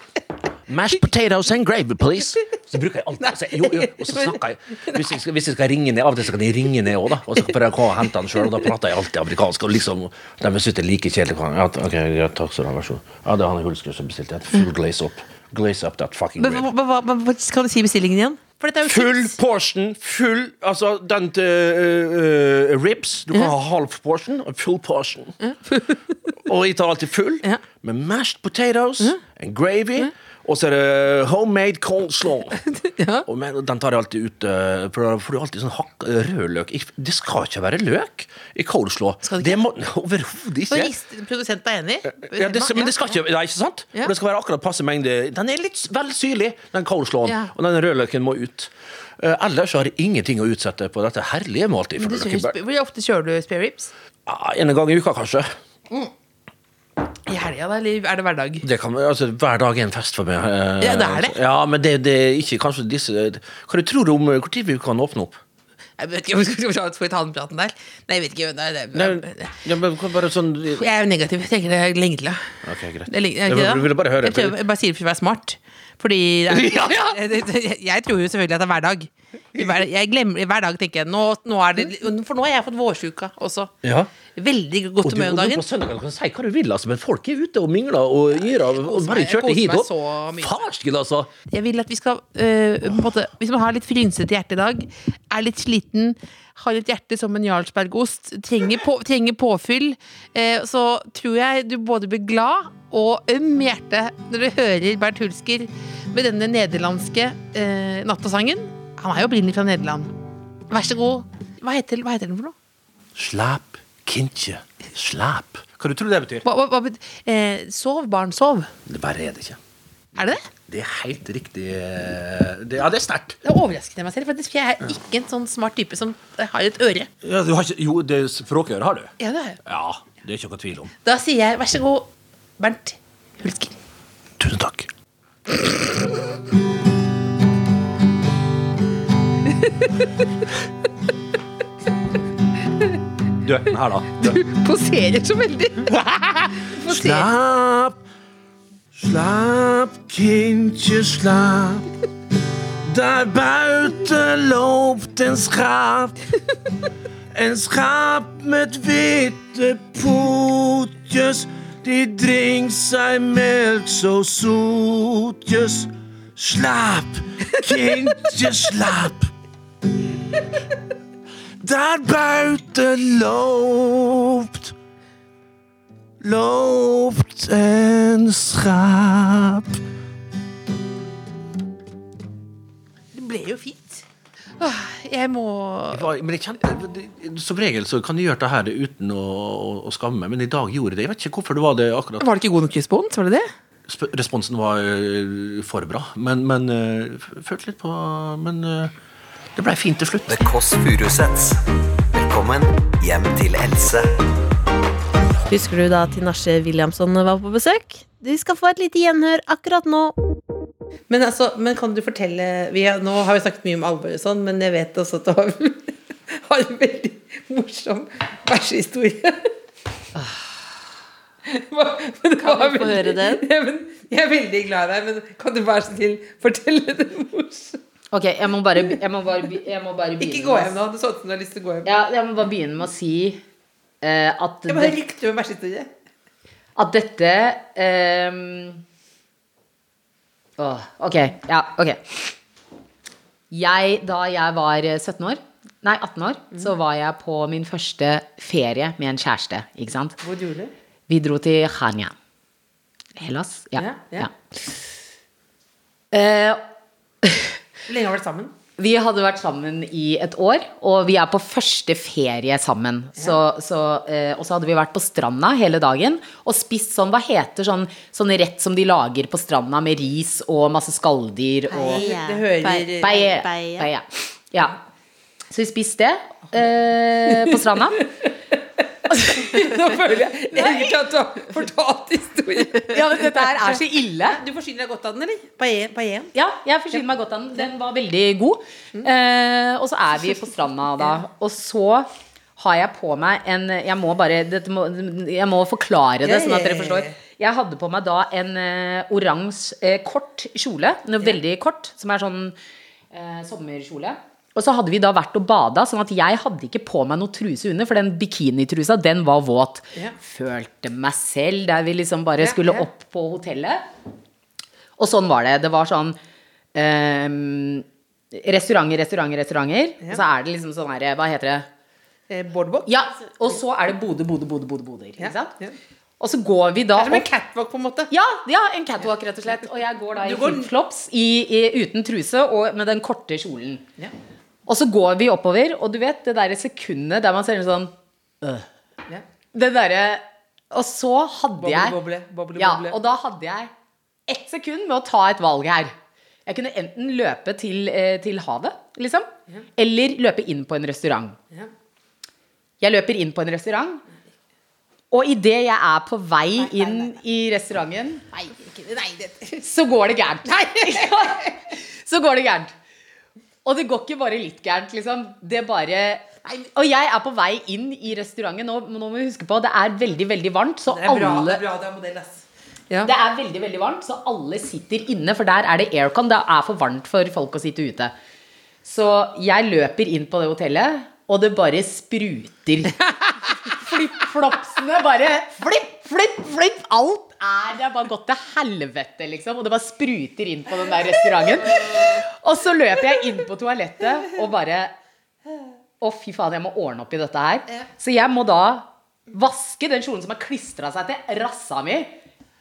Speaker 13: Mashed potatoes and gravy, please. Så bruker jeg alltid å si jo, jo, og så snakker jeg hvis jeg, skal, hvis jeg skal ringe ned, av og til så kan jeg ringe ned òg, da. Og så prøver jeg å komme og hente han sjøl, og da prater jeg alltid amerikansk. Og liksom, de synes det er like kjedelig. Ja, ok, ja, takk skal du ha, vær så god. Ja, det er han Hulsker som bestilte. et Full glaze up. Glaze up that fucking gravy.
Speaker 4: Kan du si bestillingen igjen? For dette er jo
Speaker 13: Full portion, full Altså den til øh, øh, ribs. Du kan ha halv portion og full portion. og jeg tar alltid full, med mashed potatoes and gravy. Og så er det homemade coleslaw. og men, den tar jeg alltid ut, øh, for da får du alltid sånn hakk, rød løk. Ik- Det skal ikke være løk i coleslaw. Det, må Overhodet
Speaker 4: Og
Speaker 13: ikke.
Speaker 4: rist- Produsenten er enig?
Speaker 13: Ja, det, men det skal ikke, nei, ikke sant?
Speaker 4: Ja.
Speaker 13: For Det skal være akkurat passe mengde. Den er litt s- veldig syrlig, den coleslawen.
Speaker 4: Ja.
Speaker 13: Og den rødløken må ut. Eh, ellers har jeg ingenting å utsette på dette herlige måltidet.
Speaker 4: Men du
Speaker 13: fra
Speaker 4: kjører,
Speaker 13: Løkkeberg.
Speaker 4: sp- hvor ofte kjører du spare ribs?
Speaker 13: Ja, en gang i uka, kanskje.
Speaker 4: I helga, da? Eller er det hverdag?
Speaker 13: Det kan, altså, hver dag er en fest for meg. eh,
Speaker 4: Ja, det er det.
Speaker 13: Ja, men det, det er ikke kanskje disse Hva du tror du om eh, Hvor tid vi kan åpne opp?
Speaker 4: Jeg vet ikke, skal vi ta- Skal vi ta den praten der? Nei, jeg vet ikke. Nei, det,
Speaker 13: Nei, ja, men bare sånn
Speaker 4: jeg er jo negativ. Jeg tenker det er lenge til. da.
Speaker 13: Ok, greit.
Speaker 4: Det er lenge, er
Speaker 13: Jeg
Speaker 4: ikke det?
Speaker 13: vil- ville bare høre.
Speaker 4: jeg, prøver, jeg bare sier det for å være smart. Fordi
Speaker 13: Ja,
Speaker 4: jeg, jeg tror jo selvfølgelig at det er hver dag. I hver, jeg glemmer, i hver dag tenker jeg nå, nå er det, For nå har jeg fått vårsjuka også.
Speaker 13: Ja.
Speaker 4: Veldig godt
Speaker 13: Og du-
Speaker 4: humør om
Speaker 13: og du
Speaker 4: dagen.
Speaker 13: På søndagen kan du si hva du vil, altså, men folk er ute og mingler og yrer. Og og
Speaker 4: meg-
Speaker 13: bare
Speaker 4: jeg
Speaker 13: kjørte
Speaker 4: koser
Speaker 13: hit
Speaker 4: meg
Speaker 13: og
Speaker 4: så mye.
Speaker 13: Farsken, altså!
Speaker 4: Jeg vil at vi skal øh, på en måte, Hvis man har litt frynsete hjerte i dag, er litt sliten, har litt hjerte som en jarlsbergost, trenger, på, trenger påfyll, eh, så tror jeg du både blir glad og øm i hjertet når du hører Bernt Hulsker med denne nederlandske eh, nattasangen. Han er jo opprinnelig fra Nederland. Vær så god. Hva heter, hva heter den for noe?
Speaker 13: Slap, kindje, slap. Hva du tror du det betyr?
Speaker 4: Hva, hva, hva, bet- eh, sov, barn, sov.
Speaker 13: Det verre er det ikke.
Speaker 4: Er det det?
Speaker 13: Det er helt riktig eh, det, Ja, det er sterkt.
Speaker 4: Det overrasket jeg meg selv, faktisk, for jeg er ikke en sånn smart type som har et øre.
Speaker 13: Ja, du har ikke, jo, det er språkøre har du.
Speaker 4: Ja, det er jeg.
Speaker 13: Ja, det er ikke noe tvil om.
Speaker 4: Da sier jeg vær så god, Bernt.
Speaker 13: Du, den her, da.
Speaker 4: Poserer så veldig.
Speaker 13: Slapp,
Speaker 14: slapp, kindje, slapp. Der buiten loopt een schaap. Een schaap met witte poetjes. Die drinkt zijn melk zo zoetjes. Slaap, kindje, slaap. Daar buiten loopt loopt en schaap.
Speaker 4: Det ble jo fint. Åh, Jeg må
Speaker 13: Det var- Men jeg kjente, det- Som regel så kan du gjøre det her uten å, å, å skamme meg, men i dag gjorde jeg det. Jeg vet ikke hvorfor det var det akkurat.
Speaker 4: Var det ikke god nok respons? Var det det?
Speaker 13: Sp- Responsen var eh, for bra, men, men eh, f- følte litt på Men eh, det blei fint til slutt.
Speaker 2: The Kåss Furuseths. Velkommen hjem til Else.
Speaker 3: Husker du da Tinashe Williamson var på besøk? De skal få et lite gjenhør akkurat nå.
Speaker 15: Men, altså, men kan du fortelle vi har, Nå har vi snakket mye om alvor og sånn, men jeg vet også at du har, har en veldig morsom bæsjehistorie. Hva- men det
Speaker 6: Kan
Speaker 15: var
Speaker 6: vi få høre den?
Speaker 15: Ja, men, jeg er veldig glad i deg, men kan du være så snill fortelle det morsomt?
Speaker 7: Ok, jeg må bare, jeg må bare, be- jeg må bare begynne
Speaker 15: Ikke gå
Speaker 7: med å
Speaker 15: hjem nå. Det så ut som du har lyst til å gå hjem.
Speaker 7: Ja, jeg må bare begynne med å si eh, at,
Speaker 15: Jeg bare
Speaker 7: det,
Speaker 15: likte med bæsjehistorie.
Speaker 7: at dette ehm, åh, Ok, ja, ok. Jeg, da jeg var eh, 17 år, nei 18 år,
Speaker 15: Mm.
Speaker 7: så var jeg på min første ferie med en kjæreste. ikke sant?
Speaker 15: Hvor dro du?
Speaker 7: Vi dro til Khania. Hellas? Ja.
Speaker 15: Ja, ja.
Speaker 7: ja. Eh,
Speaker 15: Hvor lenge har du vært sammen?
Speaker 7: Vi hadde vært sammen i et år, og vi er på første ferie sammen. Så, så, eh, og så hadde vi vært på stranda hele dagen og spist sånn, hva heter sånn, sånn rett som de lager på stranda med ris og masse skalldyr og
Speaker 15: Paella. Det hører-
Speaker 7: Paella.
Speaker 15: Paella.
Speaker 7: Paella. Ja. Så vi spiste det eh, på stranda.
Speaker 15: Nå føler jeg egentlig at du har fortalt historien.
Speaker 7: Ja, men dette her er så ille.
Speaker 15: Du forsyner deg godt av den, eller?
Speaker 6: E-
Speaker 15: Paien? paien.
Speaker 7: Ja, jeg forsyner meg godt av den. Den var veldig god. Eh, og så er vi på stranda da. Og så har jeg på meg en Jeg må bare dette må, Jeg må forklare det,
Speaker 6: Ja,
Speaker 7: sånn at
Speaker 6: ja,
Speaker 7: dere
Speaker 6: ja,
Speaker 7: forstår.
Speaker 6: ja.
Speaker 7: Jeg hadde på meg da en eh, oransje, eh, kort kjole. Noe veldig kort, som er sånn eh, sommerkjole. Og så hadde vi da vært og bada, sånn at jeg hadde ikke på meg noe truse under, for den bikinitrusa, den var våt. Følte meg selv der vi liksom bare
Speaker 6: Ja,
Speaker 7: skulle
Speaker 6: ja.
Speaker 7: opp på hotellet. Og sånn var det. Det var sånn ehm, Restauranter, restauranter, restauranter. Og så er det liksom sånn her Hva heter det?
Speaker 15: Boardwalk?
Speaker 7: Ja. Og så er det Bodø, Bodø, Bodø, Bodø. Bodø ikke sant?
Speaker 15: ja.
Speaker 7: Og så går vi
Speaker 15: Det
Speaker 7: da
Speaker 15: er som en
Speaker 7: opp-
Speaker 15: catwalk, på en måte.
Speaker 7: Ja, ja, en catwalk, rett og slett. Og jeg går da i
Speaker 15: Du går-
Speaker 7: flipflops i, i, uten truse og med den korte kjolen. Og så går vi oppover, og du vet det derre sekundet der man ser en sånn øh.
Speaker 15: Ja.
Speaker 7: Det derre Og så hadde
Speaker 15: Boble,
Speaker 7: jeg
Speaker 15: boble, boble,
Speaker 7: ja,
Speaker 15: boble.
Speaker 7: Og da hadde jeg ett sekund med å ta et valg her. Jeg kunne enten løpe til, eh, til havet, liksom, eller løpe inn på en restaurant.
Speaker 15: Ja.
Speaker 7: Jeg løper inn på en restaurant, og idet jeg er på vei inn i restauranten,
Speaker 15: Nei, ikke, nei det
Speaker 7: så går det gærent. Så går det gærent. Og det går ikke bare litt gærent, liksom. Det bare Nei, Og jeg er på vei inn i restauranten nå, nå må vi huske på, det er veldig, veldig varmt, så
Speaker 4: Det er bra, det
Speaker 7: alle
Speaker 4: er bra det er modell, ass.
Speaker 7: Det er veldig, veldig varmt, så alle sitter inne, for der er det aircon. Det er for varmt for folk å sitte ute. Så jeg løper inn på det hotellet, og det bare spruter. Flipp-flopsene bare Flipp, flipp, flipp! Alt er Det har bare gått til helvete, liksom. Og det bare spruter inn på den der restauranten. Og så løper jeg inn på toalettet og bare Å, fy faen, jeg må ordne opp i dette her. Så jeg må da vaske den kjolen som har klistra seg til rassa mi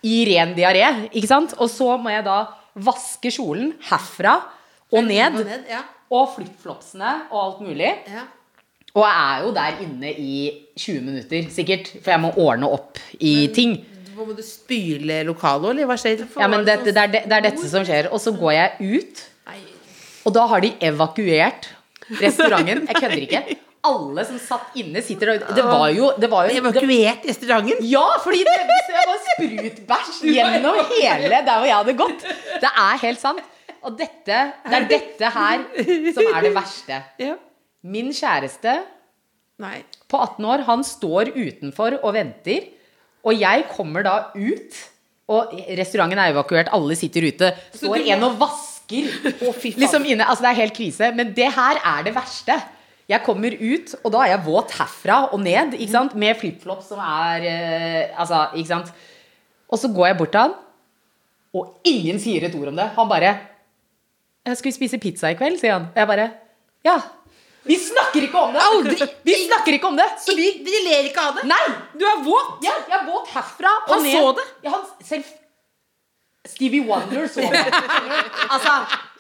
Speaker 7: i ren diaré, ikke sant? Og så må jeg da vaske kjolen herfra og ned.
Speaker 4: Og ned, ja.
Speaker 7: Og flipflopsene og alt mulig. Og jeg er jo der inne i 20 minutter, sikkert, for jeg må ordne opp i ting.
Speaker 4: Hvor må du spyle lokalet, eller hva skjer?
Speaker 7: Ja, men det, det, er, det, det er dette som skjer. Og så går jeg ut, og da har de evakuert restauranten. Jeg kødder ikke. Alle som satt inne, sitter og Det var jo, det var jo
Speaker 4: Evakuert restauranten?
Speaker 7: Ja, fordi det det var sprutbæsj gjennom hele der hvor jeg hadde gått. Det er helt sant. Og dette, det er dette her som er det verste. Min kjæreste på 18 år, han står utenfor og venter. Og jeg kommer da ut, og restauranten er evakuert, alle sitter ute. Står en og vasker. Liksom inne, altså Det er helt krise. Men det her er det verste. Jeg kommer ut, og da er jeg våt herfra og ned ikke sant? med flipflops som er eh, Altså, ikke sant. Og så går jeg bort til han, og ingen sier et ord om det. Han bare «Eh, 'Skal vi spise pizza i kveld?' sier han. Og jeg bare Ja. Vi snakker ikke om det! Vi snakker ikke om det! Så vi, ler ikke av det? Nei! Du er våt! Ja, jeg er våt herfra og
Speaker 4: Han
Speaker 7: ned.
Speaker 4: så det?
Speaker 7: Ja, han selv... Stevie Wonder så det. altså,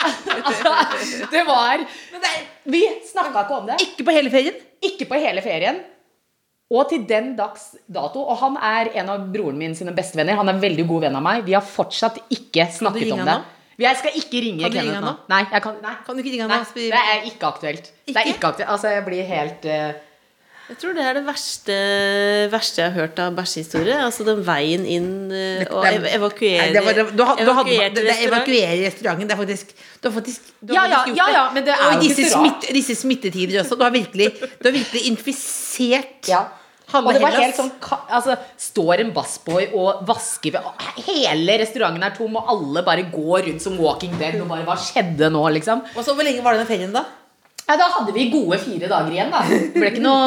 Speaker 7: altså Det var Vi snakka ikke om det. Ikke på hele ferien? Ikke på hele ferien. Og til den dags dato. Og han er en av broren min sine bestevenner. Han er en veldig god venn av meg. Vi har fortsatt ikke snakket
Speaker 4: ringe
Speaker 7: om det.
Speaker 4: han
Speaker 7: Jeg skal ikke ringe
Speaker 4: Kan du ringe
Speaker 7: Kenneth
Speaker 4: han
Speaker 7: nå.
Speaker 4: nå?
Speaker 7: Nei, jeg kan, nei.
Speaker 4: Kan du ikke ringe
Speaker 7: Nei,
Speaker 4: han nå?
Speaker 7: det er ikke aktuelt. Det er ikke aktuelt. Altså, jeg blir helt eh,
Speaker 3: Jeg tror det er det verste, verste jeg har hørt av bæsjehistorie. Altså den veien inn eh, og ev evakuere
Speaker 4: Nei, det var, du, had- du hadde,
Speaker 3: evakuerte
Speaker 4: det, det,
Speaker 3: restaurant.
Speaker 4: evakuere restauranten. Det er faktisk, du har faktisk, du
Speaker 3: Ja,
Speaker 4: har
Speaker 3: ja,
Speaker 4: faktisk gjort
Speaker 3: ja, ja, men det er
Speaker 4: og
Speaker 3: jo ikke
Speaker 4: disse,
Speaker 3: så rart.
Speaker 4: smitt, disse smittetider også. Du har virkelig, du har virkelig infisert halve
Speaker 7: Og det var
Speaker 4: Hellas.
Speaker 7: helt sånn ka- altså, Står en bassboy og vasker ved- Hele restauranten er tom, og alle bare går rundt som Walking Dead. Og bare, Hva skjedde nå, liksom?
Speaker 4: Og så Hvor lenge var denne ferien, da?
Speaker 7: Ja, da hadde vi gode fire dager igjen, da. Det ble ikke noe,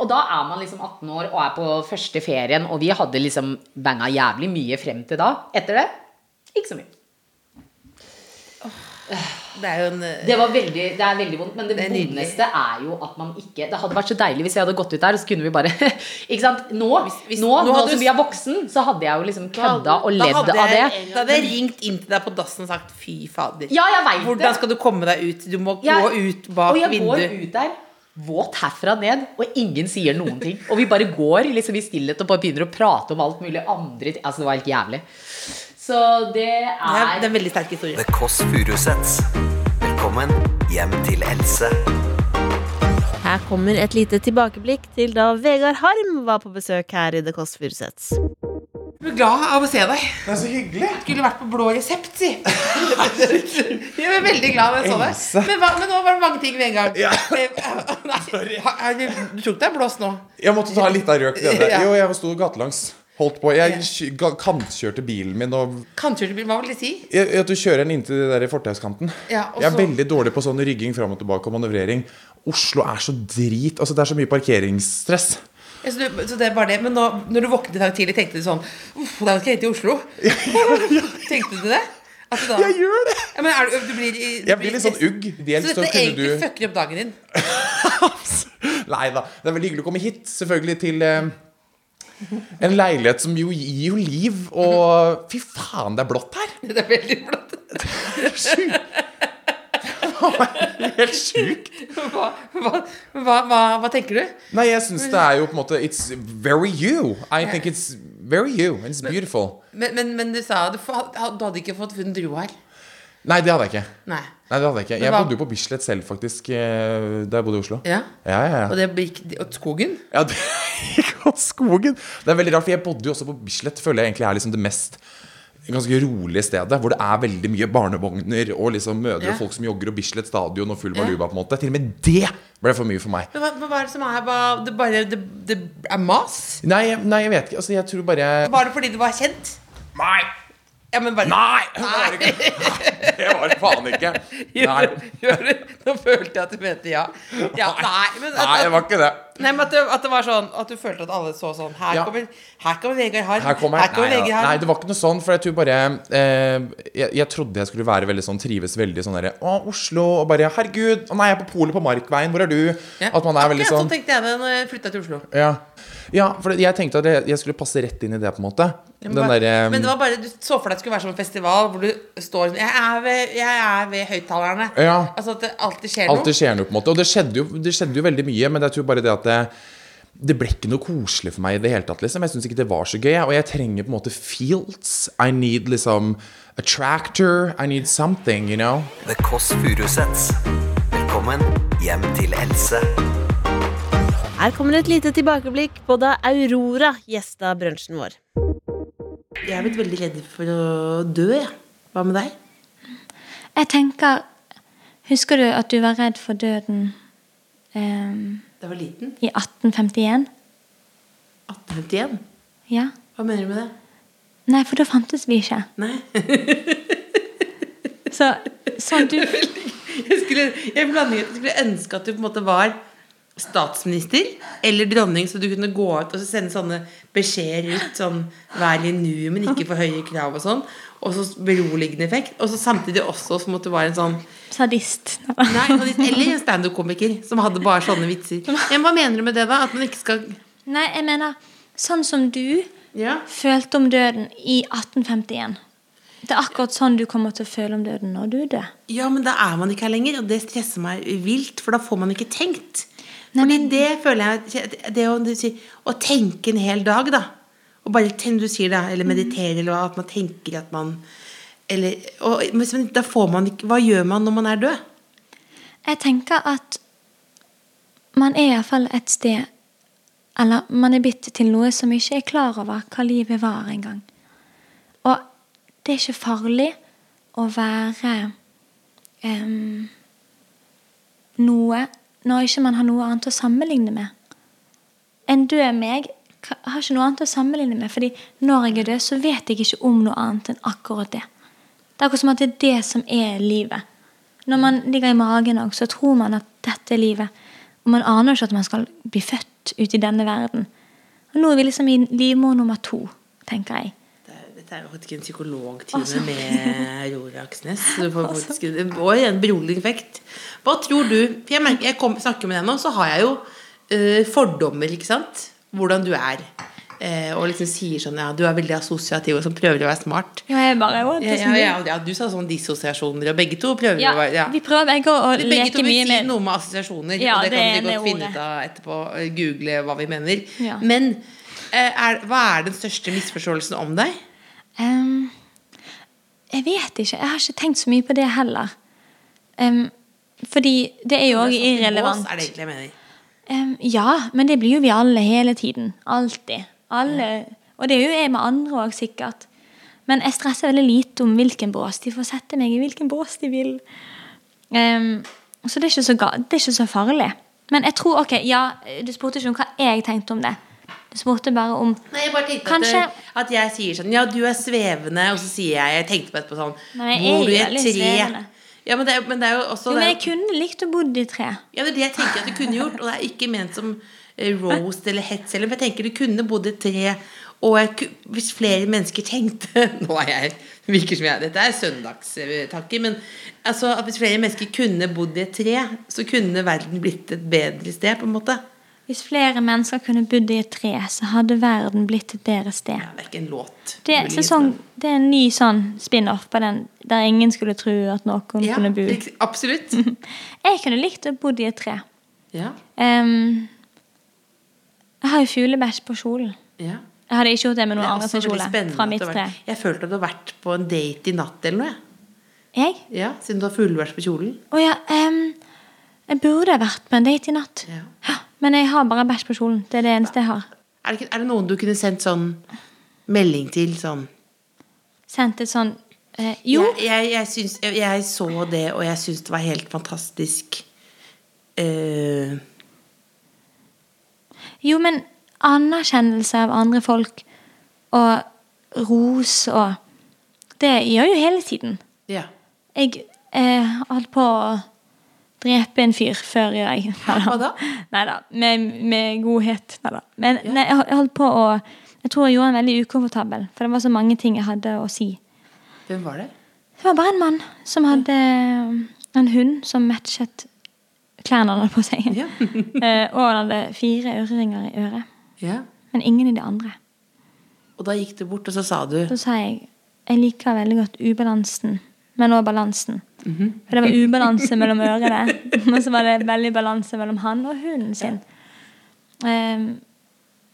Speaker 7: og da er man liksom 18 år og er på første ferien, og vi hadde liksom banga jævlig mye frem til da. Etter det ikke så mye.
Speaker 4: Det er jo en eh,
Speaker 7: Det, var veldig, det er veldig vondt, men det,
Speaker 4: er nydelig.
Speaker 7: vondeste er jo at man ikke Det hadde vært så deilig hvis jeg hadde gått ut der, og så kunne vi bare Ikke sant? Nå, nå,
Speaker 4: nå
Speaker 7: nå
Speaker 4: hadde
Speaker 7: som
Speaker 4: du-
Speaker 7: vi er voksen, så hadde jeg jo liksom kødda og
Speaker 4: Da hadde
Speaker 7: levd av det.
Speaker 4: jeg- Da hadde jeg ringt inn til deg på dassen og sagt 'fy fader'.
Speaker 7: Ja, jeg vet
Speaker 4: Hvordan
Speaker 7: det.
Speaker 4: skal du komme deg ut? Du må
Speaker 7: Jeg-
Speaker 4: gå ut bak
Speaker 7: Og jeg
Speaker 4: vinduet.
Speaker 7: går ut der våt herfra ned, og ingen sier noen ting. Og vi bare går liksom i stillhet og bare begynner å prate om alt mulig andre ting. Altså, det var helt jævlig. Så det er
Speaker 4: Det er en veldig sterk historie.
Speaker 2: The Kåss Furuseths. Velkommen hjem til Else.
Speaker 5: Her kommer et lite tilbakeblikk til da Vegard Harm var på besøk her i The Kåss Furuseths.
Speaker 4: Jeg er glad av å se deg.
Speaker 16: Det er så hyggelig.
Speaker 4: Skulle vært på blå resept, si. jeg var veldig glad da jeg så deg.
Speaker 16: Else.
Speaker 4: Men, hva, men nå var det mange ting ved en gang.
Speaker 16: Ja.
Speaker 4: Eh, Nei, ha- er du, du tok deg en blås nå?
Speaker 16: Jeg måtte ta litt av røk. til dette.
Speaker 4: Ja.
Speaker 16: Jo, jeg sto gatelangs. Holdt på. Jeg kj- ga- kantkjørte bilen min og
Speaker 4: Kantkjørte bil, hva vil det si?
Speaker 16: jeg, jeg, Du kjører den inntil den der fortauskanten.
Speaker 4: Ja, og
Speaker 16: jeg er
Speaker 4: så-
Speaker 16: veldig dårlig på sånn rygging fram og tilbake og manøvrering. Oslo er så drit. Altså, det er så mye parkeringsstress.
Speaker 4: Ja, Så, du, så det er bare det. Men nå, når du våknet i dag tidlig, tenkte du sånn Uff, da skal jeg hjem til Oslo. tenkte du det? jeg
Speaker 16: gjør det.
Speaker 4: Ja, men er du, du blir, i- du
Speaker 16: Jeg blir litt sånn ugg. Dels
Speaker 4: Så
Speaker 16: så
Speaker 4: dette
Speaker 16: kunne
Speaker 4: egentlig
Speaker 16: du
Speaker 4: fucker opp dagen din?
Speaker 16: Nei da. Det er veldig hyggelig å komme hit, selvfølgelig, til eh, en leilighet som jo gir jo liv. Og fy faen, det er blått her!
Speaker 4: Det er veldig blått.
Speaker 16: Helt sjukt.
Speaker 4: Hva, hva, hva, hva, hva tenker du?
Speaker 16: Nei, jeg syns det er jo på en måte It's very you. I think it's very you. And it's beautiful.
Speaker 4: Men, men, men du sa du, fa- du hadde ikke fått funnet ro her.
Speaker 16: Nei, det hadde jeg ikke.
Speaker 4: Nei.
Speaker 16: Nei, det hadde jeg ikke.
Speaker 4: Men
Speaker 16: Jeg
Speaker 4: hva-
Speaker 16: bodde jo på Bislett selv, faktisk, eh, da jeg bodde i Oslo.
Speaker 4: Ja.
Speaker 16: Ja, ja, ja.
Speaker 4: Og det gikk og skogen?
Speaker 16: Ja, det gikk av skogen. Det er veldig rart, for jeg bodde jo også på Bislett, føler jeg egentlig er liksom det mest ganske rolig stedet, hvor det er veldig mye barnevogner og liksom mødre
Speaker 4: Ja.
Speaker 16: og folk som jogger, og Bislett stadion og full
Speaker 4: Ja.
Speaker 16: baluba. på en måte Til og med det ble for mye for meg.
Speaker 4: Men hva, men hva er det som er hva, det, bare, det, det er mas?
Speaker 16: Nei, nei jeg vet ikke. Altså, jeg tror bare jeg
Speaker 4: Var det fordi det var kjent?
Speaker 16: Nei!
Speaker 4: Ja, men bare...
Speaker 16: Nei! Det var det faen ikke. Nei.
Speaker 4: Nå følte jeg at du mente ja. ja nei, men at,
Speaker 16: nei, det var ikke det.
Speaker 4: Nei, men at det, at det var sånn At du følte at alle så sånn Her
Speaker 16: Ja.
Speaker 4: kommer, her kommer Vegard Harm.
Speaker 16: Her kommer, nei,
Speaker 4: Vegard
Speaker 16: ja.
Speaker 4: Harm.
Speaker 16: nei, det var ikke noe sånn, for jeg tror bare eh, jeg, jeg trodde jeg skulle være veldig sånn trives veldig sånn derre Å, Oslo, og bare Herregud, å nei, jeg er på polet på Markveien, hvor er du?
Speaker 4: Ja.
Speaker 16: At man er veldig
Speaker 4: Akkurat
Speaker 16: sånn
Speaker 4: sånn tenkte jeg det når jeg flytta til Oslo.
Speaker 16: Ja, ja for jeg tenkte at jeg, jeg skulle passe rett inn i det, på en måte.
Speaker 4: Ja,
Speaker 16: Den eh,
Speaker 4: men bare-
Speaker 16: derre
Speaker 4: Men det var bare du så for deg at det skulle være som en festival hvor du står sånn Jeg er ved, jeg er ved høyttalerne.
Speaker 16: Ja.
Speaker 4: Altså at det alltid skjer noe.
Speaker 16: Alt det skjer noe, på en måte. Og det skjedde, jo, det skjedde jo veldig mye, men jeg tror bare det at det, det ble ikke noe koselig for meg i det hele tatt. liksom. Jeg syns ikke det var så gøy. jeg. Og jeg trenger på en måte fields. I need liksom a tractor. I need something, you know.
Speaker 2: The Kåss Furuseths. Velkommen hjem til Else.
Speaker 5: Her kommer et lite tilbakeblikk på da Aurora gjesta brunsjen vår.
Speaker 4: Jeg er blitt veldig redd for å dø, jeg. Hva med deg?
Speaker 17: Jeg tenker Husker du at du var redd for døden ehm,
Speaker 4: Da jeg var liten?
Speaker 17: i 1851?
Speaker 4: 1851?
Speaker 17: Ja.
Speaker 4: Hva mener du med det?
Speaker 17: Nei, for da fantes vi ikke.
Speaker 4: Nei.
Speaker 17: Så sånn du
Speaker 4: Jeg skulle, jeg blanding, jeg skulle ønske at du på en måte var statsminister eller dronning, så du kunne gå ut og så sende sånne beskjeder ut. Sånn 'vær i nuet, men ikke for høye krav' og sånn. Og så beroligende effekt. Og så samtidig også som at du var en sånn
Speaker 17: Sadist.
Speaker 4: Nei, sadist, eller en standup-komiker som hadde bare sånne vitser. Ja, men hva mener du med det, da? At man ikke skal
Speaker 17: Nei, jeg mener sånn som du følte om døden i 1851. Det er akkurat sånn du kommer til å føle om døden når du er død.
Speaker 4: Ja, men da er man ikke her lenger, og det stresser meg vilt, for da får man ikke tenkt. Fordi det føler jeg Det å, du sier, å tenke en hel dag, da. Og bare tenke, du sier det, eller meditere, eller hva, at man tenker at man eller, og, men da får man ikke Hva gjør man når man er død?
Speaker 17: Jeg tenker at man er iallfall et sted Eller man er blitt til noe som ikke er klar over hva livet var engang. Og det er ikke farlig å være em, noe når ikke man har noe annet å sammenligne med. En død meg ka- har ikke noe annet å sammenligne med, fordi når jeg er død, så vet jeg ikke om noe annet enn akkurat det. Det er akkurat som at det er det som er livet. Når man ligger i magen også, så tror man at dette er livet. Og man aner ikke at man skal bli født ute i denne verden. Og nå er vi liksom i livmor nummer to, tenker jeg.
Speaker 4: Dette er jo faktisk en psykologtime med Aurora Aksnes. Du får faktisk og en beroligende effekt. Hva tror du For jeg, merker, jeg kom, snakker med deg nå, så har jeg jo eh, fordommer, ikke sant? Hvordan du er. Eh, og liksom sier sånn Ja, du er veldig assosiativ og sånn, prøver å være smart.
Speaker 17: Ja, jeg bare «Å,
Speaker 4: Ja, ja,
Speaker 17: tusen
Speaker 4: ja,
Speaker 17: takk».
Speaker 4: ja, du sa sånn dissosiasjoner, og begge to prøver
Speaker 17: Ja,
Speaker 4: å være ja.
Speaker 17: Vi prøver begge å
Speaker 4: Begge
Speaker 17: leke
Speaker 4: to vil
Speaker 17: mye
Speaker 4: si
Speaker 17: med
Speaker 4: noe med assosiasjoner,
Speaker 17: Ja,
Speaker 4: og det,
Speaker 17: det
Speaker 4: kan
Speaker 17: er
Speaker 4: vi godt
Speaker 17: det
Speaker 4: finne
Speaker 17: ordet.
Speaker 4: ut av etterpå. eh, Google hva vi mener.
Speaker 17: Ja.
Speaker 4: Men eh, er, hva er den største misforståelsen om deg?
Speaker 17: Em, Jeg vet ikke. Jeg har ikke tenkt så mye på det heller. Em, fordi det er sånn jo òg irrelevant.
Speaker 4: Bås er det egentlig jeg mener.
Speaker 17: Em, ja, men det blir jo vi alle hele tiden. Alltid. Alle. Og det er jo jeg med andre òg, sikkert. Men jeg stresser veldig lite om hvilken bås. De får sette meg i hvilken bås de vil. Em, så det er, ikke så ga det er ikke så farlig. Men jeg tror, ok, ja, Du spurte ikke om hva jeg tenkte om det. Du spurte bare om
Speaker 4: Nei, jeg bare tenkte
Speaker 17: Kanskje-
Speaker 4: at, det- at jeg sier sånn Ja, du er svevende, og så sier jeg Jeg tenkte på etterpå sånn
Speaker 17: Nei, jeg
Speaker 4: Bor du i
Speaker 17: er
Speaker 4: et
Speaker 17: litt
Speaker 4: tre?
Speaker 17: svevende.
Speaker 4: Ja, men det, er, jo- men det er jo også
Speaker 17: Jo,
Speaker 4: det
Speaker 17: men
Speaker 4: er
Speaker 17: jeg kunne likt å bo i tre.
Speaker 4: jo- ja, det er det jeg tenker at du kunne gjort, og det er ikke ment som eh, roast eller hets heller, men jeg tenker du kunne bodd i et tre, og jeg, ku- hvis flere mennesker tenkte Nå er jeg virker som jeg Dette er søndagstanker, men altså, at hvis flere mennesker kunne bodd i et tre, så kunne verden blitt et bedre sted, på en måte.
Speaker 17: Hvis flere mennesker kunne bodd i et tre, så hadde verden blitt et bedre sted.
Speaker 4: Det er ikke en låt.
Speaker 17: Det er,
Speaker 4: muligens,
Speaker 17: sesong, det er en ny sånn spin-off på den der ingen skulle tro at noen
Speaker 4: Ja,
Speaker 17: kunne bo.
Speaker 4: lik- absolutt.
Speaker 17: Jeg kunne likt å bo i et tre.
Speaker 4: Ja.
Speaker 17: Ehm, jeg har jo fuglebæsj på kjolen.
Speaker 4: Ja.
Speaker 17: Jeg hadde ikke gjort det med noen
Speaker 4: altså, Det er
Speaker 17: andre
Speaker 4: også
Speaker 17: sin
Speaker 4: veldig
Speaker 17: kjole.
Speaker 4: spennende
Speaker 17: Fra
Speaker 4: at
Speaker 17: mitt
Speaker 4: du har
Speaker 17: tre.
Speaker 4: vært- Jeg følte at du har vært på en date i natt eller noe.
Speaker 17: Jeg?
Speaker 4: Ja, Siden du har fuglebæsj på kjolen.
Speaker 17: Å ja, ehm, jeg burde ha vært på en date i natt. Ja, Men jeg har bare bæsj på kjolen. Det er det eneste jeg har.
Speaker 4: Er det, ikke- er det noen du kunne sendt sånn melding til? Sånn
Speaker 17: sendt et sånn eh, Jo,
Speaker 4: Jeg, jeg, jeg, syns, jeg, jeg så det, og jeg syns det var helt fantastisk. Eh,
Speaker 17: jo, men anerkjennelse av andre folk og ros og Det gjør jo hele tiden.
Speaker 4: Ja.
Speaker 17: Jeg eh, holdt på å drepe en fyr før jeg Hva
Speaker 4: da?
Speaker 17: Neida, Med, med godhet. Neida. Men nei, jeg hol- jeg holdt på å Jeg tror jeg gjorde han veldig ukomfortabel, for det var så mange ting jeg hadde å si.
Speaker 4: hvem var det?
Speaker 17: Det var bare en mann som hadde en hund som matchet klærne han hadde på seg. Eh, og han hadde fire øreringer i øret.
Speaker 4: Ja.
Speaker 17: Men ingen i det andre.
Speaker 4: Og da gikk du bort, og så sa du
Speaker 17: Så sa jeg jeg liker veldig godt ubalansen, men også balansen.
Speaker 4: Mhm.
Speaker 17: For det var ubalanse mellom ørene, og så var det veldig balanse mellom han og hunden sin. Eh,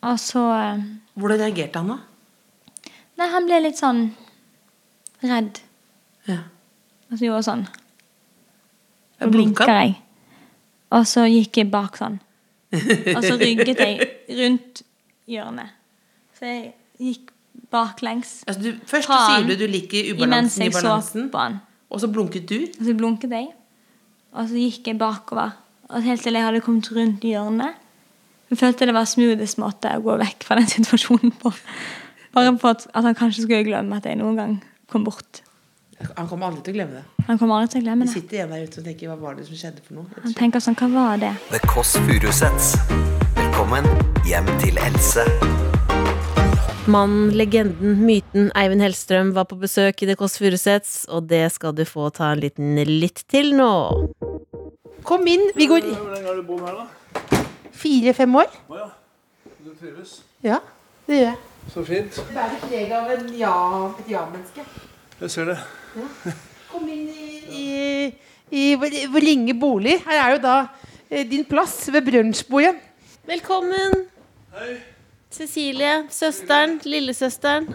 Speaker 17: og så
Speaker 4: Hvordan reagerte han, da?
Speaker 17: Nei, han ble litt sånn redd.
Speaker 4: Ja.
Speaker 17: Og så gjorde jeg sånn.
Speaker 4: Jeg
Speaker 17: Så
Speaker 4: blunket.
Speaker 17: blinka jeg. Og så gikk jeg bak sånn. Og så rygget jeg rundt hjørnet. Så jeg gikk baklengs.
Speaker 4: Altså, du, først
Speaker 17: fra
Speaker 4: så
Speaker 17: han,
Speaker 4: sier du du liker
Speaker 17: imens
Speaker 4: ubalansen i
Speaker 17: jeg så
Speaker 4: balansen.
Speaker 17: på han.
Speaker 4: Og så blunket du.
Speaker 17: Og så blunket jeg. Og så gikk jeg bakover. Og helt til jeg hadde kommet rundt hjørnet. Jeg følte det var smoothest måte å gå vekk fra den situasjonen på. Bare for at, at han kanskje skulle glemme at jeg noen gang kom bort.
Speaker 4: Han kommer aldri til å glemme det.
Speaker 17: Han kommer aldri til å glemme
Speaker 4: Det
Speaker 17: det.
Speaker 4: sitter igjen der ute og tenker 'hva var det som skjedde for noe'?
Speaker 17: Han tenker sånn, hva var det?
Speaker 2: The Kåss Furuseths. Velkommen hjem til Else.
Speaker 5: Mannen, legenden, myten Eivind Hellstrøm var på besøk i The Kåss Furuseths, og det skal du få ta en liten lytt til nå.
Speaker 4: Kom inn. Vi går
Speaker 18: Hvor lenge har du bodd her, da?
Speaker 4: fire-fem år.
Speaker 18: Å ja. Du trives?
Speaker 4: Ja, det gjør jeg.
Speaker 18: Så fint.
Speaker 4: Bærer preg av en ja- et ja-menneske.
Speaker 18: Jeg ser det.
Speaker 4: Kom inn i, i, i vår, vår lenge bolig. Her er jo da eh, din plass ved brunsjbordet.
Speaker 3: Velkommen. Cecilie, søsteren, lillesøsteren.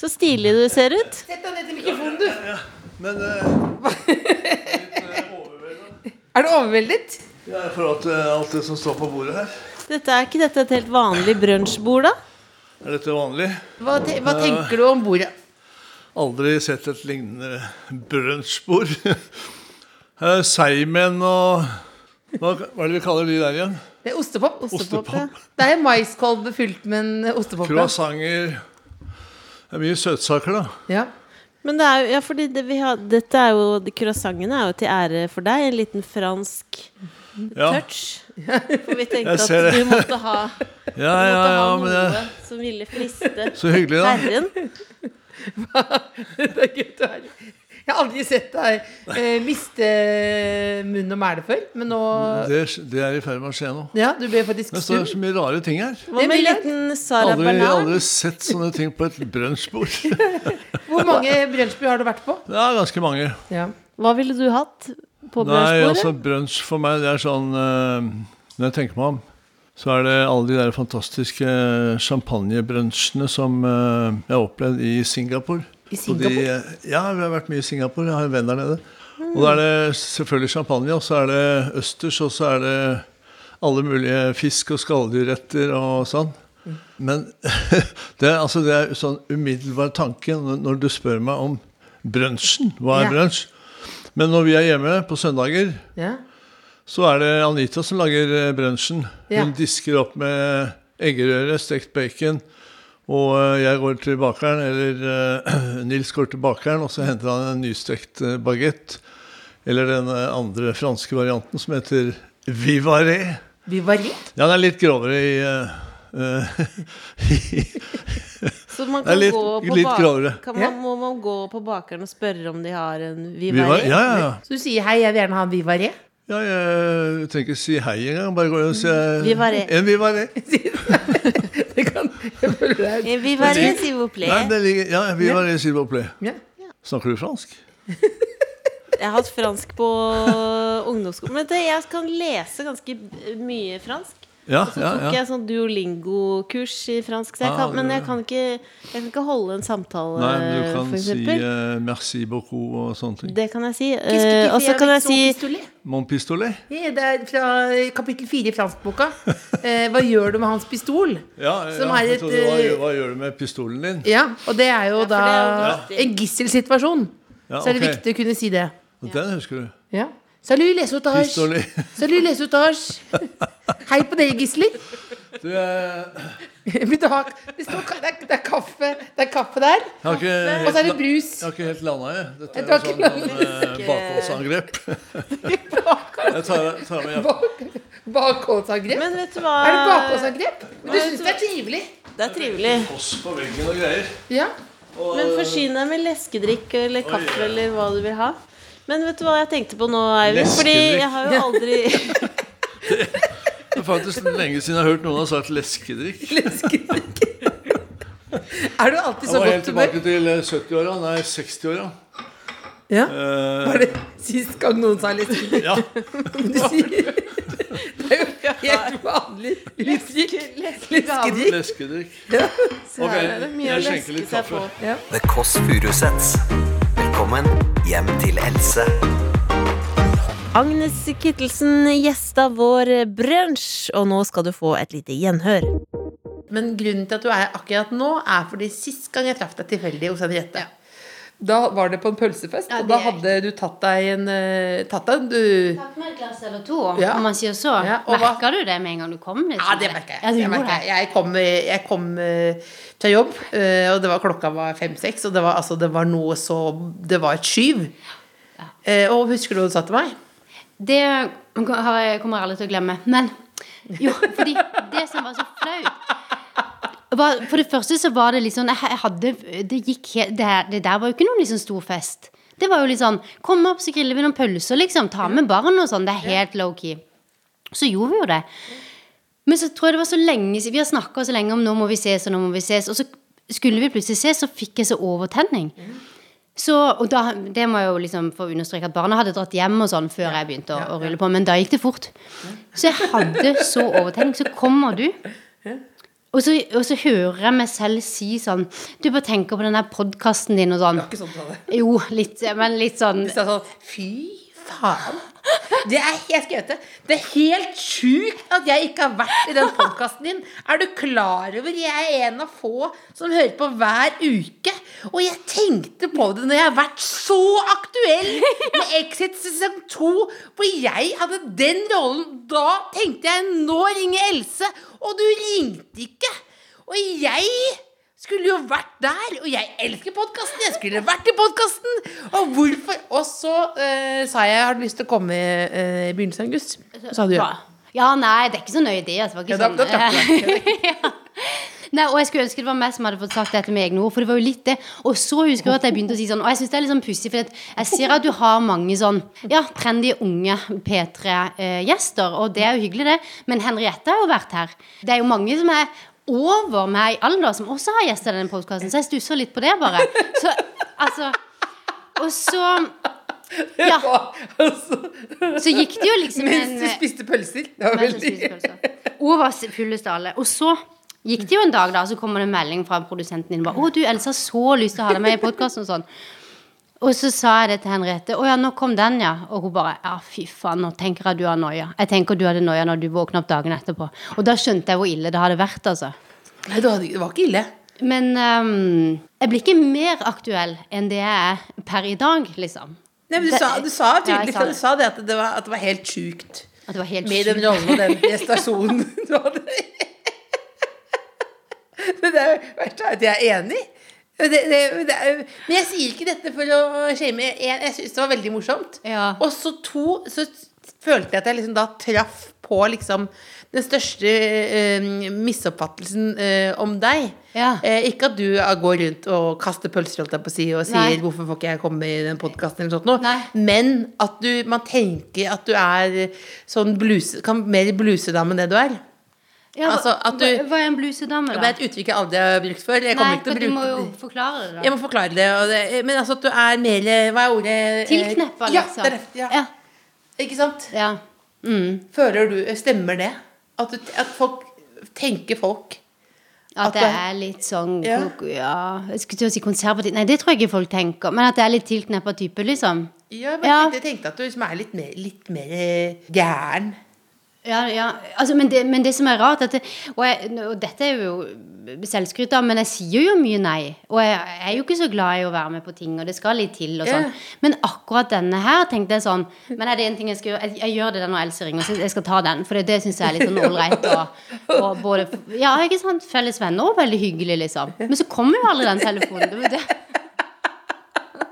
Speaker 3: Så stilig du ser ut.
Speaker 4: Sett deg ned til mikrofonen, du.
Speaker 18: Men eh,
Speaker 4: Er du overveldet?
Speaker 18: jeg er for at, eh, alt det som står på bordet her,
Speaker 3: Dette er ikke dette et helt vanlig brunsjbord, da?
Speaker 18: er dette vanlig?
Speaker 4: Hva, te hva tenker du om bordet?
Speaker 18: Aldri sett et lignende brunsjbord. Eh, Seigmenn og hva, hva er det vi kaller de der igjen?
Speaker 4: Det er ostepop. ostepop, Ja. Det er maiskolbe fylt med en ostepop. ja.
Speaker 18: Croissanter. Det er mye søtsaker, da.
Speaker 3: Men det er jo, ja, fordi det vi har, dette er jo de Croissantene er jo til ære for deg. En liten fransk
Speaker 18: Ja.
Speaker 3: touch. For vi
Speaker 18: Jeg
Speaker 3: tenkte at
Speaker 18: ser det.
Speaker 3: du måtte ha,
Speaker 18: Ja,
Speaker 3: du
Speaker 18: ja,
Speaker 3: måtte ha
Speaker 18: ja, men
Speaker 3: noe
Speaker 18: jeg-
Speaker 3: som ville friste
Speaker 18: Så hyggelig, da.
Speaker 3: herren.
Speaker 4: Det er gøy å være. Jeg har aldri sett deg eh, miste munn og mæle før, men nå
Speaker 18: Det, det er i ferd med å skje nå.
Speaker 4: Ja, du ble faktisk
Speaker 18: Det står
Speaker 4: stum.
Speaker 18: så mye rare ting her.
Speaker 3: Hva med en liten Sara
Speaker 18: Aldri, jeg har
Speaker 3: Bernard?
Speaker 18: aldri sett sånne ting på et brunsjbord.
Speaker 4: Hvor mange brunsjbord har du vært på?
Speaker 18: Det er ganske mange.
Speaker 3: Hva ville du hatt på
Speaker 18: Nei, altså
Speaker 3: brunsjbordet?
Speaker 18: brunsj for meg, det er sånn eh, Når jeg tenker meg om, så er det alle de der fantastiske champagnebrunsjene som eh, jeg har opplevd i Singapore.
Speaker 4: I
Speaker 18: Og De,
Speaker 4: Singapore?
Speaker 18: ja, vi har vært mye i Singapore. Jeg har en venn der nede. Og da er det selvfølgelig champagne, og så er det østers, og så er det alle mulige fisk og skalldyrretter og sånn. Men det, er- altså, det er sånn umiddelbar tanke når når du spør meg om brunsjen. Hva er
Speaker 4: Ja.
Speaker 18: brunsj? Men når vi er hjemme på søndager,
Speaker 4: Ja.
Speaker 18: så er det Anita som lager eh, brunsjen.
Speaker 4: Ja.
Speaker 18: Hun disker opp med eggerøre, stekt bacon, og eh, jeg går til bakeren, eller eh, Nils går til bakeren, og så henter han en nystekt eh, baguette. Eller den eh, andre franske varianten som heter vivaré.
Speaker 4: Vi var redd.
Speaker 18: Ja, den er litt grovere i eh, eh,
Speaker 3: Så man
Speaker 18: Det er
Speaker 3: kan
Speaker 18: litt-
Speaker 3: gå på
Speaker 18: litt
Speaker 3: bak-
Speaker 18: grovere.
Speaker 3: Kan man, må man gå på bakeren og spørre om de har en
Speaker 18: Vivar-
Speaker 3: vivare?
Speaker 18: ja, ja, ja.
Speaker 4: Så du sier hei, jeg vil gjerne ha en vivaré?
Speaker 18: Ja, jeg trenger ikke si hei engang. Bare gå og
Speaker 4: Mm.
Speaker 18: si
Speaker 3: Vivaré.
Speaker 18: En vivaré.
Speaker 3: En vivare, s'il vous
Speaker 18: Nei,
Speaker 3: plaît.
Speaker 18: det ligger, ja, vivaré, s'il vous plaît.
Speaker 4: Ja.
Speaker 18: Snakker du fransk?
Speaker 3: Jeg har hatt fransk på ungdomsskolen. Men det, jeg kan lese ganske b- mye fransk.
Speaker 18: Ja,
Speaker 3: og så
Speaker 18: ja,
Speaker 3: tok
Speaker 18: ja.
Speaker 3: jeg sånn duolingo-kurs i fransk, så jeg
Speaker 18: Ah,
Speaker 3: kan, men
Speaker 18: ja,
Speaker 3: jeg kan, ikke, jeg kan ikke holde en
Speaker 4: sånn,
Speaker 3: samtale,
Speaker 18: Nei, men du kan
Speaker 3: for
Speaker 18: si
Speaker 3: eksempel.
Speaker 18: eh, 'merci beaucoup' og sånne ting.
Speaker 3: Det kan jeg si.
Speaker 4: Qu'est-ce que tu
Speaker 3: Eh, og
Speaker 4: fais
Speaker 3: så kan jeg
Speaker 4: avec son
Speaker 3: si
Speaker 4: pistolet?
Speaker 18: Mon pistolet?
Speaker 4: Ja, Det er fra eh, kapittel fire i franskboka. Eh, hva gjør du med hans pistol?
Speaker 18: Ja,
Speaker 4: Som
Speaker 18: ja,
Speaker 4: er
Speaker 18: jeg
Speaker 4: et,
Speaker 18: trodde, hva,
Speaker 4: eh,
Speaker 18: gjør- hva gjør du med pistolen din?
Speaker 4: Ja, og det er jo da
Speaker 18: det
Speaker 4: en gisselsituasjon.
Speaker 18: Ja,
Speaker 4: Så er det
Speaker 18: ok.
Speaker 4: viktig å kunne si det.
Speaker 18: Og Den husker du.
Speaker 4: Ja. Salut, les otages.
Speaker 18: Pistolet.
Speaker 4: Salut, les otages. Hei på dere, gisler.
Speaker 18: Du, eh,
Speaker 4: Vil du ha det, står, ka- det, er, det, er kaffe, det er kaffe der.
Speaker 18: jeg har ikke helt,
Speaker 4: Og så er det brus.
Speaker 18: Jeg har ikke helt landa, jeg. Dette
Speaker 4: Jeg
Speaker 18: er
Speaker 4: tror
Speaker 18: jo
Speaker 4: ikke
Speaker 18: sånn,
Speaker 4: landet.
Speaker 18: sånn eh, bakholdsangrep. jeg tar, tar med hjem.
Speaker 4: Bak- Bakholdsangrep.
Speaker 3: Men vet du hva
Speaker 4: Er det bakholdsangrep? Men du
Speaker 3: Vet
Speaker 4: syns
Speaker 3: du
Speaker 4: det er trivelig?
Speaker 3: Det er trivelig.
Speaker 18: Koss på veggen og greier.
Speaker 4: Ja.
Speaker 3: Men forsyn deg med leskedrikk eller kaffe
Speaker 18: Oi.
Speaker 3: eller hva du vil ha. Men vet du hva jeg tenkte på nå, Eivind? Fordi
Speaker 18: Leskedrikk.
Speaker 3: jeg har jo aldri
Speaker 18: Det er faktisk lenge siden jeg har hørt noen ha sagt leskedrikk.
Speaker 4: Er du alltid
Speaker 18: Jeg
Speaker 4: så
Speaker 18: var helt
Speaker 4: godt humør?
Speaker 18: tilbake til eh, 70-åra. Nei, 60-åra.
Speaker 4: Ja.
Speaker 18: Eh,
Speaker 4: Var det sist gang noen sa leskedrikk?
Speaker 18: Ja.
Speaker 4: Du sier Det er jo helt vanlig uttrykk. Leskedrikk.
Speaker 18: Leskedrikk.
Speaker 4: Ja.
Speaker 2: Ok,
Speaker 18: jeg skjenker litt kaffe.
Speaker 4: Ja.
Speaker 2: The Kåss Furuseths. Velkommen hjem til Else.
Speaker 5: Agnes Kittelsen gjesta vår brunsj, og nå skal du få et lite gjenhør.
Speaker 4: Men grunnen til at du er her akkurat nå, er fordi sist gang jeg traff deg tilfeldig hos Henriette Da var det på en pølsefest, og da hadde du tatt deg en eh, Tatt deg en du
Speaker 19: Tatt meg et glass eller to,
Speaker 4: Ja.
Speaker 19: om man sier så.
Speaker 4: Ja, og hva-
Speaker 19: merker du det med en gang du kom?
Speaker 4: Ja, det merker jeg.
Speaker 19: Ja, du
Speaker 4: Jeg,
Speaker 19: gjorde
Speaker 4: merker jeg. jeg kom, jeg kom eh, fra jobb, eh, og det var, klokka var fem-seks, og det var, altså, det var noe så Det var et skyv. Eh, Og husker du hva du sa til meg?
Speaker 19: Det har jeg, kommer jeg aldri til å glemme. Men jo, fordi det som var så flaut var, For det første så var det litt sånn jeg hadde, det, gikk, he- det, her- det der var jo ikke noen liksom stor fest. Det var jo litt sånn Kom opp, så griller vi noen pølser, liksom. Ta med barn og sånn. Det er helt low-key. Så gjorde vi jo det. Men så tror jeg det var så lenge siden Vi har snakka så lenge om 'nå må vi ses', og 'nå må vi ses'. Og så skulle vi plutselig ses, så fikk jeg så overtenning. Så, og da, det må jeg jo liksom få understreke at barna hadde dratt hjem og sånn før jeg begynte å, å rulle på, men da gikk det fort. Så jeg hadde så overtenning. Så kommer du, og så, og så hører jeg meg selv si sånn Du bare tenker på den der podkasten din og sånn.
Speaker 4: Ikke sånn sa det.
Speaker 19: Jo, litt, men litt sånn
Speaker 4: sa sånn Fy faen. Det er, jeg skal gjøre det. det er helt sjukt at jeg ikke har vært i den podkasten din. Er du klar over jeg er en av få som hører på hver uke? Og jeg tenkte på det når jeg har vært så aktuell med Exit sesong 2, hvor jeg hadde den rollen. Da tenkte jeg nå ringer Else, og du ringte ikke. Og jeg skulle jo vært der, og jeg elsker podkasten! Jeg skulle vært i podkasten! Og hvorfor Og så eh, sa jeg har du lyst til å komme eh, i begynnelsen av august. Sa du ja.
Speaker 19: Ja, nei, det er ikke så nøye det. Altså, det
Speaker 4: Ja,
Speaker 19: var
Speaker 4: da-
Speaker 19: ikke
Speaker 4: da
Speaker 19: sånn,
Speaker 4: trakk
Speaker 19: Nei, og jeg skulle ønske det var meg som hadde fått sagt dette med egne ord. For det var jo litt det. Og så husker jeg at jeg begynte å si sånn Og jeg syns det er litt sånn pussig, for at jeg ser at du har mange sånn ja, trendy unge P3-gjester, og det er jo hyggelig, det. Men Henriette har jo vært her. Det er jo mange som er over meg i alder, som også har gjester i denne podkasten, så jeg stusser litt på det, bare. Så altså Og så Ja. Så gikk det jo liksom
Speaker 4: Mens
Speaker 19: en-
Speaker 4: du spiste pølser. Det var
Speaker 19: mens jeg
Speaker 4: veldig
Speaker 19: spiste Hun var fulle stale. Og så gikk det jo en dag, da, så kommer det en melding fra produsenten din. bare, 'Å, du, Elsa, så lyst til å ha deg med i podkasten', og sånn. Og så sa jeg det til Henriette. 'Å ja, nå kom den, ja.' Og hun bare 'Ja, fy faen, nå tenker jeg du har noia'. Jeg tenker du hadde noia når du våkna opp dagen etterpå. Og da skjønte jeg hvor ille det hadde vært, altså.
Speaker 4: Nei, det hadde- det var ikke ille.
Speaker 19: Men ehm, jeg blir ikke mer aktuell enn det jeg er per i dag, liksom.
Speaker 4: Nei, men du sa, du sa
Speaker 19: Ja, jeg
Speaker 4: tydelig
Speaker 19: sa
Speaker 4: du sa det at det var, at det var helt sjukt.
Speaker 19: At det var helt
Speaker 4: Med den
Speaker 19: sjukt.
Speaker 4: rollen og den prestasjonen du hadde. Men det er jo verst at jeg er enig. Det, det, det er, jo- men jeg sier ikke dette for å shame. Jeg, jeg syns det var veldig morsomt. Og så to, så følte jeg at jeg liksom da traff på liksom den største eh, misoppfattelsen eh, om deg. Eh, ikke at du eh, går rundt og kaster pølser holdt jeg på å si, og sier
Speaker 19: Nei.
Speaker 4: 'hvorfor får ikke jeg komme i den podkasten' eller noe sånt, noe. men at du, man tenker at du er sånn bluse, kan, mer blusedame enn det du er.
Speaker 19: Ja,
Speaker 4: altså, at du,
Speaker 19: hva, hva er en blusedame, da?
Speaker 4: det er et uttrykk jeg aldri har brukt før. Jeg kommer
Speaker 19: Nei,
Speaker 4: ikke
Speaker 19: for
Speaker 4: til
Speaker 19: du
Speaker 4: å
Speaker 19: må
Speaker 4: bruke
Speaker 19: jo forklare det, da.
Speaker 4: Jeg må forklare det. Og det men altså at du er mer Hva er ordet? eh,
Speaker 19: Tilkneppa,
Speaker 4: Ja,
Speaker 19: liksom.
Speaker 4: det er det. Ja. Ikke sant?
Speaker 19: Mm.
Speaker 4: Føler du Stemmer det? At, du- at folk tenker folk
Speaker 19: At det
Speaker 4: det-
Speaker 19: er litt sånn
Speaker 4: Ja.
Speaker 19: ja. Jeg skulle til å si konservativt. Nei, det tror jeg ikke folk tenker. Men at det er litt tilkneppa type, liksom.
Speaker 4: Ja, jeg bare tenkte, jeg tenkte at du liksom er litt mer, litt mer eh, gæren.
Speaker 19: Ja, ja. Altså, men, det, men det som er rart at det, og, jeg, og dette er jo selvskryt av, men jeg sier jo mye nei. Og jeg, er jo ikke så glad i å være med på ting, og det skal litt til. og sånn.
Speaker 17: Ja.
Speaker 19: Men akkurat denne her tenkte jeg sånn Men er det en ting jeg skal gjøre? Jeg, jeg gjør det der når Else ringer. og synes Jeg skal ta den, for det, det syns jeg er litt sånn ålreit. Og, og både Ja, ikke sant? Felles venner og veldig hyggelig, liksom. Men så kommer jo aldri den telefonen. Det, var det.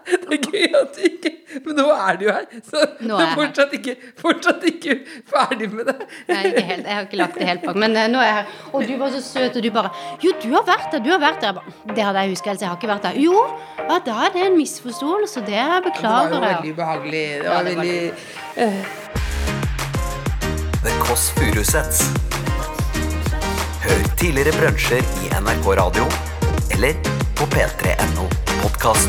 Speaker 15: Det er gøy at du ikke Men nå er du jo her, så du
Speaker 19: Nå
Speaker 15: er
Speaker 19: er jeg her.
Speaker 15: fortsatt ikke, fortsatt ikke ferdig med det.
Speaker 19: Nei, ikke helt. Jeg har ikke lagt det helt bak. Men eh, nå er jeg her. Og du var så søt, og du bare Jo, du har vært der, du har vært der. Jeg bare, Det hadde jeg huska, Else. Jeg har ikke vært der. Jo, ja, da er det en misforståelse, og det
Speaker 4: Det var
Speaker 19: beklager
Speaker 4: jo
Speaker 19: jeg.
Speaker 4: veldig ubehagelig. Det
Speaker 19: Ja,
Speaker 4: var
Speaker 19: det var
Speaker 4: veldig
Speaker 2: The Kåss Furuseths. Hør tidligere brunsjer i NRK Radio eller på p3.no podkast.